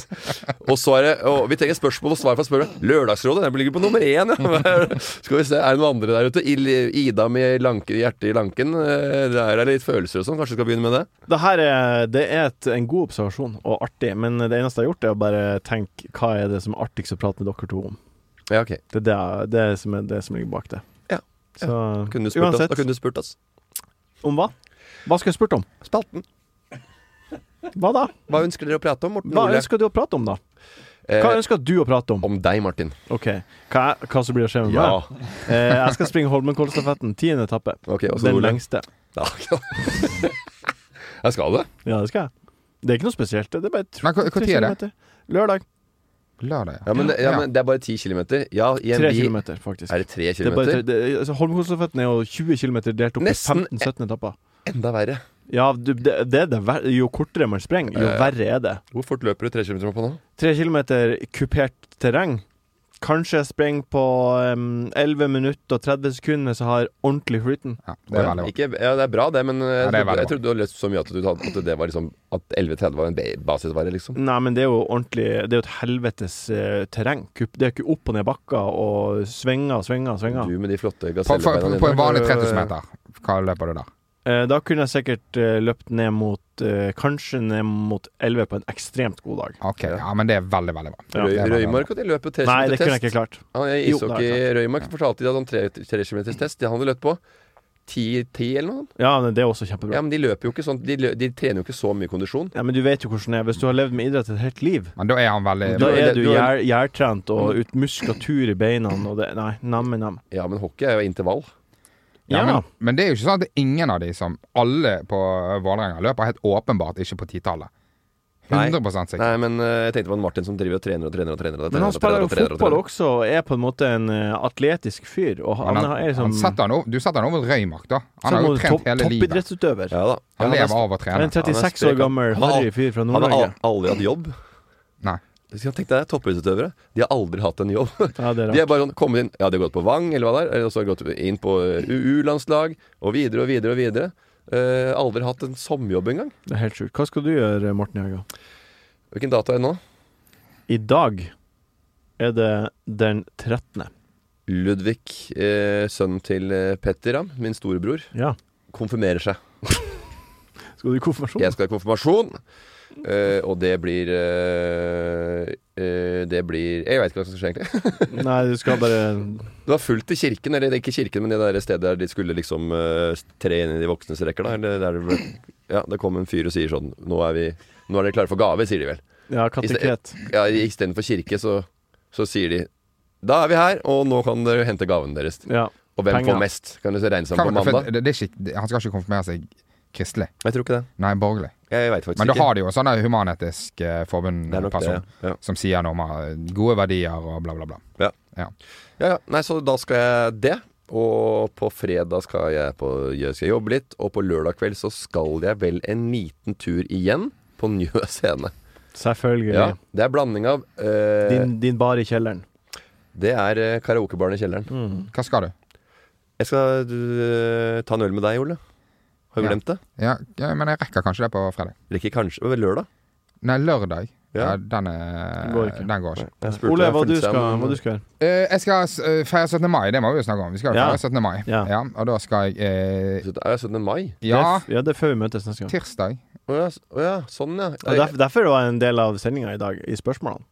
og så er det og Vi trenger spørsmål og svar fra spørrere. Lørdagsrådet den ligger på nummer én, ja. Hva er- Skal vi se. Er det noen andre der ute? Il- Ida med lanke, hjertet i lanken. Eh, Der er det litt følelser og sånn. Kanskje vi skal begynne med det? Det her er, det er et, en god observasjon og artig, men det eneste jeg har gjort, er å bare tenke hva er det som er artigst å prate med dere to om. Ja, ok. Det er det, det, er som, er det som ligger bak det. Ja. Så Kunne du spurt oss? uansett, Da kunne du spurt oss. om hva? Hva skulle jeg spurt om? Spalten. Hva da? Hva ønsker dere å prate om, Morten Hva Ole? ønsker du å prate om, da? Hva Eh, ønsker du å prate om? om deg, Martin. Ok, Hva, hva som blir å skje med Ja. meg? Eh, jeg skal springe Holmenkollstafetten, tiende etappe. Ok, og så Den Ole. lengste. Ja, jeg skal det. Ja, det skal jeg. Det er ikke noe spesielt. Det er bare tr- Men hva- hva tre tid er det? kilometer. Lørdag. Lørdag, ja. Ja, men, det- ja, Ja. men det er bare 10 km. Ja, i en Tre by kilometer, faktisk. er det 3 Det er km. bare tre- det- altså, Holmenkollstafetten er jo 20 km delt opp i Nesten- 15-17 etapper. Enda verre. Ja, du, det, det er det ver Jo kortere man sprenger, jo Eh. verre er det. Hvor fort løper du 3 km på nå? Tre kilometer kupert terreng. Kanskje jeg sprenger på em, 11 minutter og 30 sekunder hvis jeg har ordentlig flyten. ja. Det er veldig bra. Ikke, ja, det er bra, det, men eh, jeg, det er trodde, veldig jeg trodde du hadde løst så mye at, du, hadde- at det var liksom At 11.30 var en ba- basisvare, liksom. Nei, men det er jo ordentlig Det er jo et helvetes eh, terreng. Kup, det er ikke opp og ned bakker og svinger og svinger og svinger. Du med de flotte På, på, gasellebeina på en dine. vanlig 3000 meter, hva løper du der? Eh, da kunne jeg sikkert eh, løpt ned mot eh, Kanskje ned mot 11 på en ekstremt god dag. Ok, ja, men det er veldig, veldig bra. Røy, Det er veldig Røymark og de løper 3 Nei, km det kunne jeg test. ikke klart. Han i Jo, det er ishockey Røymark fortalte de at han 3 km test. De han hadde løpt på 10, 10 eller noe. Ja, men det er også Ja, kjempebra. men de løper jo ikke sånn De, lø- de trener jo ikke så mye kondisjon. Ja, Men du vet jo hvordan det er. Hvis du har levd med idrett et helt liv, bra. Men da er han veldig Da Men er det- du du har- gjær, gjærtrent og ut muskulatur i beina og det Nei, namme nam. Ja, men hockey er jo intervall. ja, Ja. men, men det er jo ikke sånn at det er ingen av de som Alle på Vålerenga løper helt åpenbart ikke på titallet. 100 sikkert. Nei, men eh, jeg tenkte på han Martin som driver og trener og trener og trener. Og trener Men han og spiller trener jo og trener og fotball trener. også og er på en måte en eh, atletisk fyr. Og han, Men han, er liksom han setter han over, du setter han over Røymark, da. Han som har jo en trent topp- hele livet. toppidrettsutøver. Ja da. Han Ja, lever er- av å Han er trene. en Han er 36 år sprek, han. gammel Han har harry fyr fra Han har Nord-Norge. al- aldri hatt jobb. Nei. Så Tenk deg toppidrettsutøvere. De har aldri hatt en jobb. Ja, det er rart. De er bare sånn kommet inn Ja, de har gått på Vang, eller hva det er. Eller så har de gått inn på eh, U-landslag, og videre og videre og videre. Eh, aldri hatt en sommerjobb engang. Det er helt sjukt. Hva skal du gjøre, Morten i helga? Hvilken dato er det nå? I dag er det den 13. Ludvig, eh, sønnen til eh, Petter, ja, min storebror, Ja. konfirmerer seg. Skal du i konfirmasjon? Jeg skal ha konfirmasjon. eh, og det blir eh, eh, Det blir Jeg veit ikke hva som skjer, egentlig. Nei, du skal bare Det var fullt i kirken, eller ikke kirken, men det der stedet der de skulle liksom eh, tre inn i de voksnes rekker, da. Eller der det ble Ja, det kom en fyr og sier sånn Nå er vi Nå er dere klare for gave, sier de vel. Ja, kateket. Ja, Istedenfor kirke, så, så sier de Da er vi her, og nå kan dere hente gaven deres. Ja. Og hvem Penger. får mest? Kan dere regne sammen Kan, på for mandag? det, det er ikke, det- han skal ikke konfirmere seg kristelig. Jeg tror ikke det. Nei, borgerlig. Jeg veit faktisk Men da ikke. har de jo sånn der human-etisk Det eh, er nok det, forbund-person ja. som sier noe om eh, gode verdier og bla, bla, bla. Ja. Ja. Ja, ja. Nei, så da skal jeg det. Og på fredag skal jeg, på, jeg skal jobbe litt. Og på lørdag kveld så skal jeg vel en liten tur igjen på Njø scene. Selvfølgelig. Ja, det er blanding av eh, Din, din bar i kjelleren. Det er eh, karaokebaren i kjelleren. Hva skal du? Jeg skal eh, ta en øl med deg, Ole. Har vi Ja. glemt det? Ja, ja, men jeg rekker kanskje det på fredag. Rekker kanskje Ved lørdag? Nei, lørdag. Ja, Ja. den, er, Den går ikke. den går ikke. Jeg spurte Ole, deg, hva fulgte du seg skal, om- hva du skal gjøre? Eh, jeg skal eh, feire 17. mai, det må vi jo snakke om. Vi skal jo Ja. feire 17. mai. Ja. Ja. og da skal jeg eh, Det Er 17. mai? Det er Ja, f- ja, det er før vi møtes neste gang. tirsdag. Å ja, s- å ja, sånn ja. Og Ja, derfor, derfor var en del av sendinga i dag, i spørsmålene.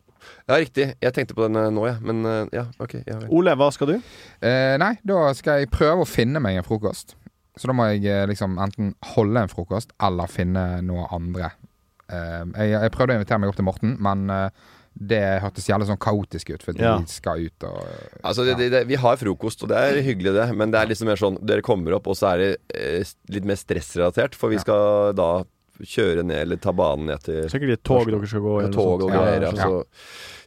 ja, riktig. Jeg tenkte på den eh, nå, jeg. Ja. Men eh, ja, ok. Ja, vel. Ole, hva skal du? Eh, nei, da skal jeg prøve å finne meg en frokost. Så da må jeg eh, liksom enten holde en frokost eller finne noe andre. Eh, jeg, jeg prøvde å invitere meg opp til Morten, men eh, det hørtes jævlig sånn kaotisk ut, for Ja. de skal ut og Altså, det, det, det, vi har frokost, og det er hyggelig, det. Men det er liksom mer sånn dere kommer opp, og så er det eh, litt mer stressrelatert. For vi skal da kjøre ned, eller ta banen ned til Sikkert et tog dere skal gå i. eller noe tog og sånt. greier. Ja, altså.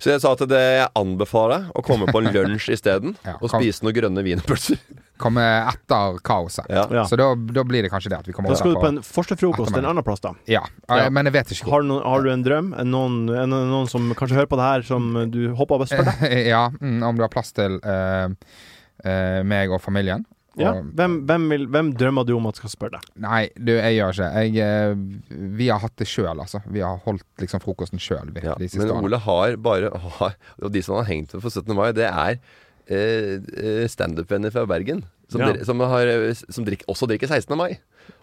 Så jeg sa at det jeg anbefaler deg å komme på en lunsj isteden, Ja, og kom. spise noen grønne wienerpølser. komme etter kaoset. Ja. Ja. Så da, da blir det kanskje det at vi kommer Da over skal du på- på en forstefrokost en Ettermiddag. annen plass, da. ja. Ja. Eh, men jeg vet ikke hvor. Har du, noen, har du en drøm? Er det Noen, er det noen som kanskje hører på det her, som du håper best for deg? ja, mm, om du har plass til eh, eh, meg og familien. Og, Ja. Hvem, hvem, vil, hvem drømmer du om at skal spørre deg? Nei, du, jeg gjør ikke jeg, eh, Vi har hatt det sjøl, altså. Vi har holdt liksom frokosten sjøl de Ja. siste Men årene. Ole har bare har, Og de som han har hengt med for 17. mai, det er eh, standup-venner fra Bergen. Som, Ja. dere- som, har, eh, som drikk, også drikker 16. mai.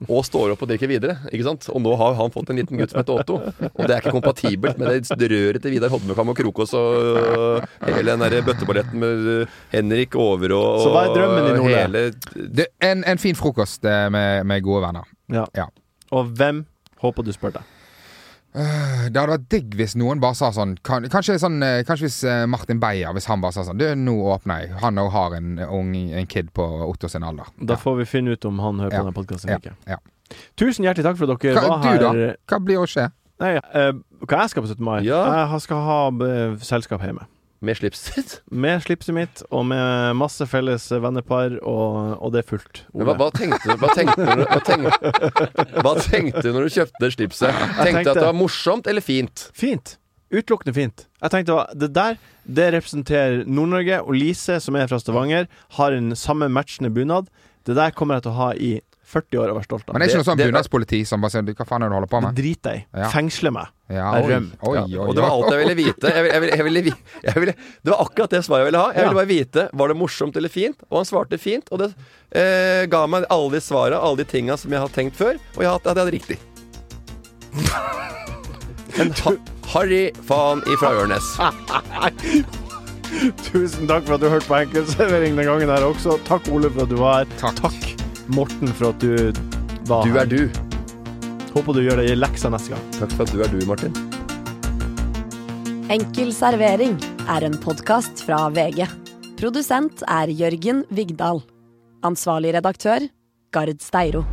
Og står opp og drikker videre. Ikke sant? Og nå har han fått en liten gutt som heter Otto. Og det er ikke kompatibelt med det røret til Vidar Hodmekam og Krokås og øh, hele den der bøtteballetten med øh, Henrik Overå og Så hva er drømmen din, Ole? hele- Det, en, en fin frokost eh, med, med gode venner. Ja. Ja. Og hvem håper du spør deg? Det hadde vært digg hvis noen bare sa sånn kan, kanskje, sånn eh, kanskje hvis eh, Martin Beyer Hvis han bare sa sånn Du, nå åpner jeg. Han òg har en, ung, en kid på Otto sin alder. Da får vi finne ut om han hører Ja. på denne podkasten ja. eller ikke. Ja. Tusen hjertelig takk for at dere Hva, var du, da? her. Hva blir å skje? Nei, eh, hva jeg skal på 17. mai? Ja. Jeg skal ha eh, selskap hjemme. Med slipset. Med slipset mitt og med masse felles vennepar, og, og det er fullt. Men hva, hva, tenkte, du- hva, tenkte du, hva, tenkte, hva tenkte du når du kjøpte det slipset? Tenkte du tenkte- at det var morsomt eller fint? Fint. Utelukkende fint. Jeg tenkte hva- Det der det representerer Nord-Norge, og Lise, som er fra Stavanger, har en samme matchende bunad. Det der kommer jeg til å ha i 40 år og være stolt av. Men det er ikke noe sånn det- bunadspoliti som bare sier du, 'hva faen er det du holder på Det med'? driter jeg i. Ja. Fengsle meg. Ja, Jeg oi, rømte, oi, ja. oi, Og det var oi. alt jeg ville vite. Jeg vil- jeg vil- jeg ville vi- jeg ville- det var akkurat det svaret jeg ville ha. Jeg ville bare vite var det morsomt eller fint. Og han svarte fint. Og det eh, ga meg alle de svara, alle de tinga som jeg har tenkt før. Og jeg hadde, jeg hadde riktig. En ha Harry faen ifra Ørnes. Tusen takk for at du hørte på Enkeltservering den gangen her også. Takk, Ole, for at du var her. Takk. Morten, for at du var Du her. er du. Håper du gjør deg i leksa neste gang. Takk for at du er du, Martin. Enkel servering er en podkast fra VG. Produsent er Jørgen Vigdal. Ansvarlig redaktør, Gard Steiro.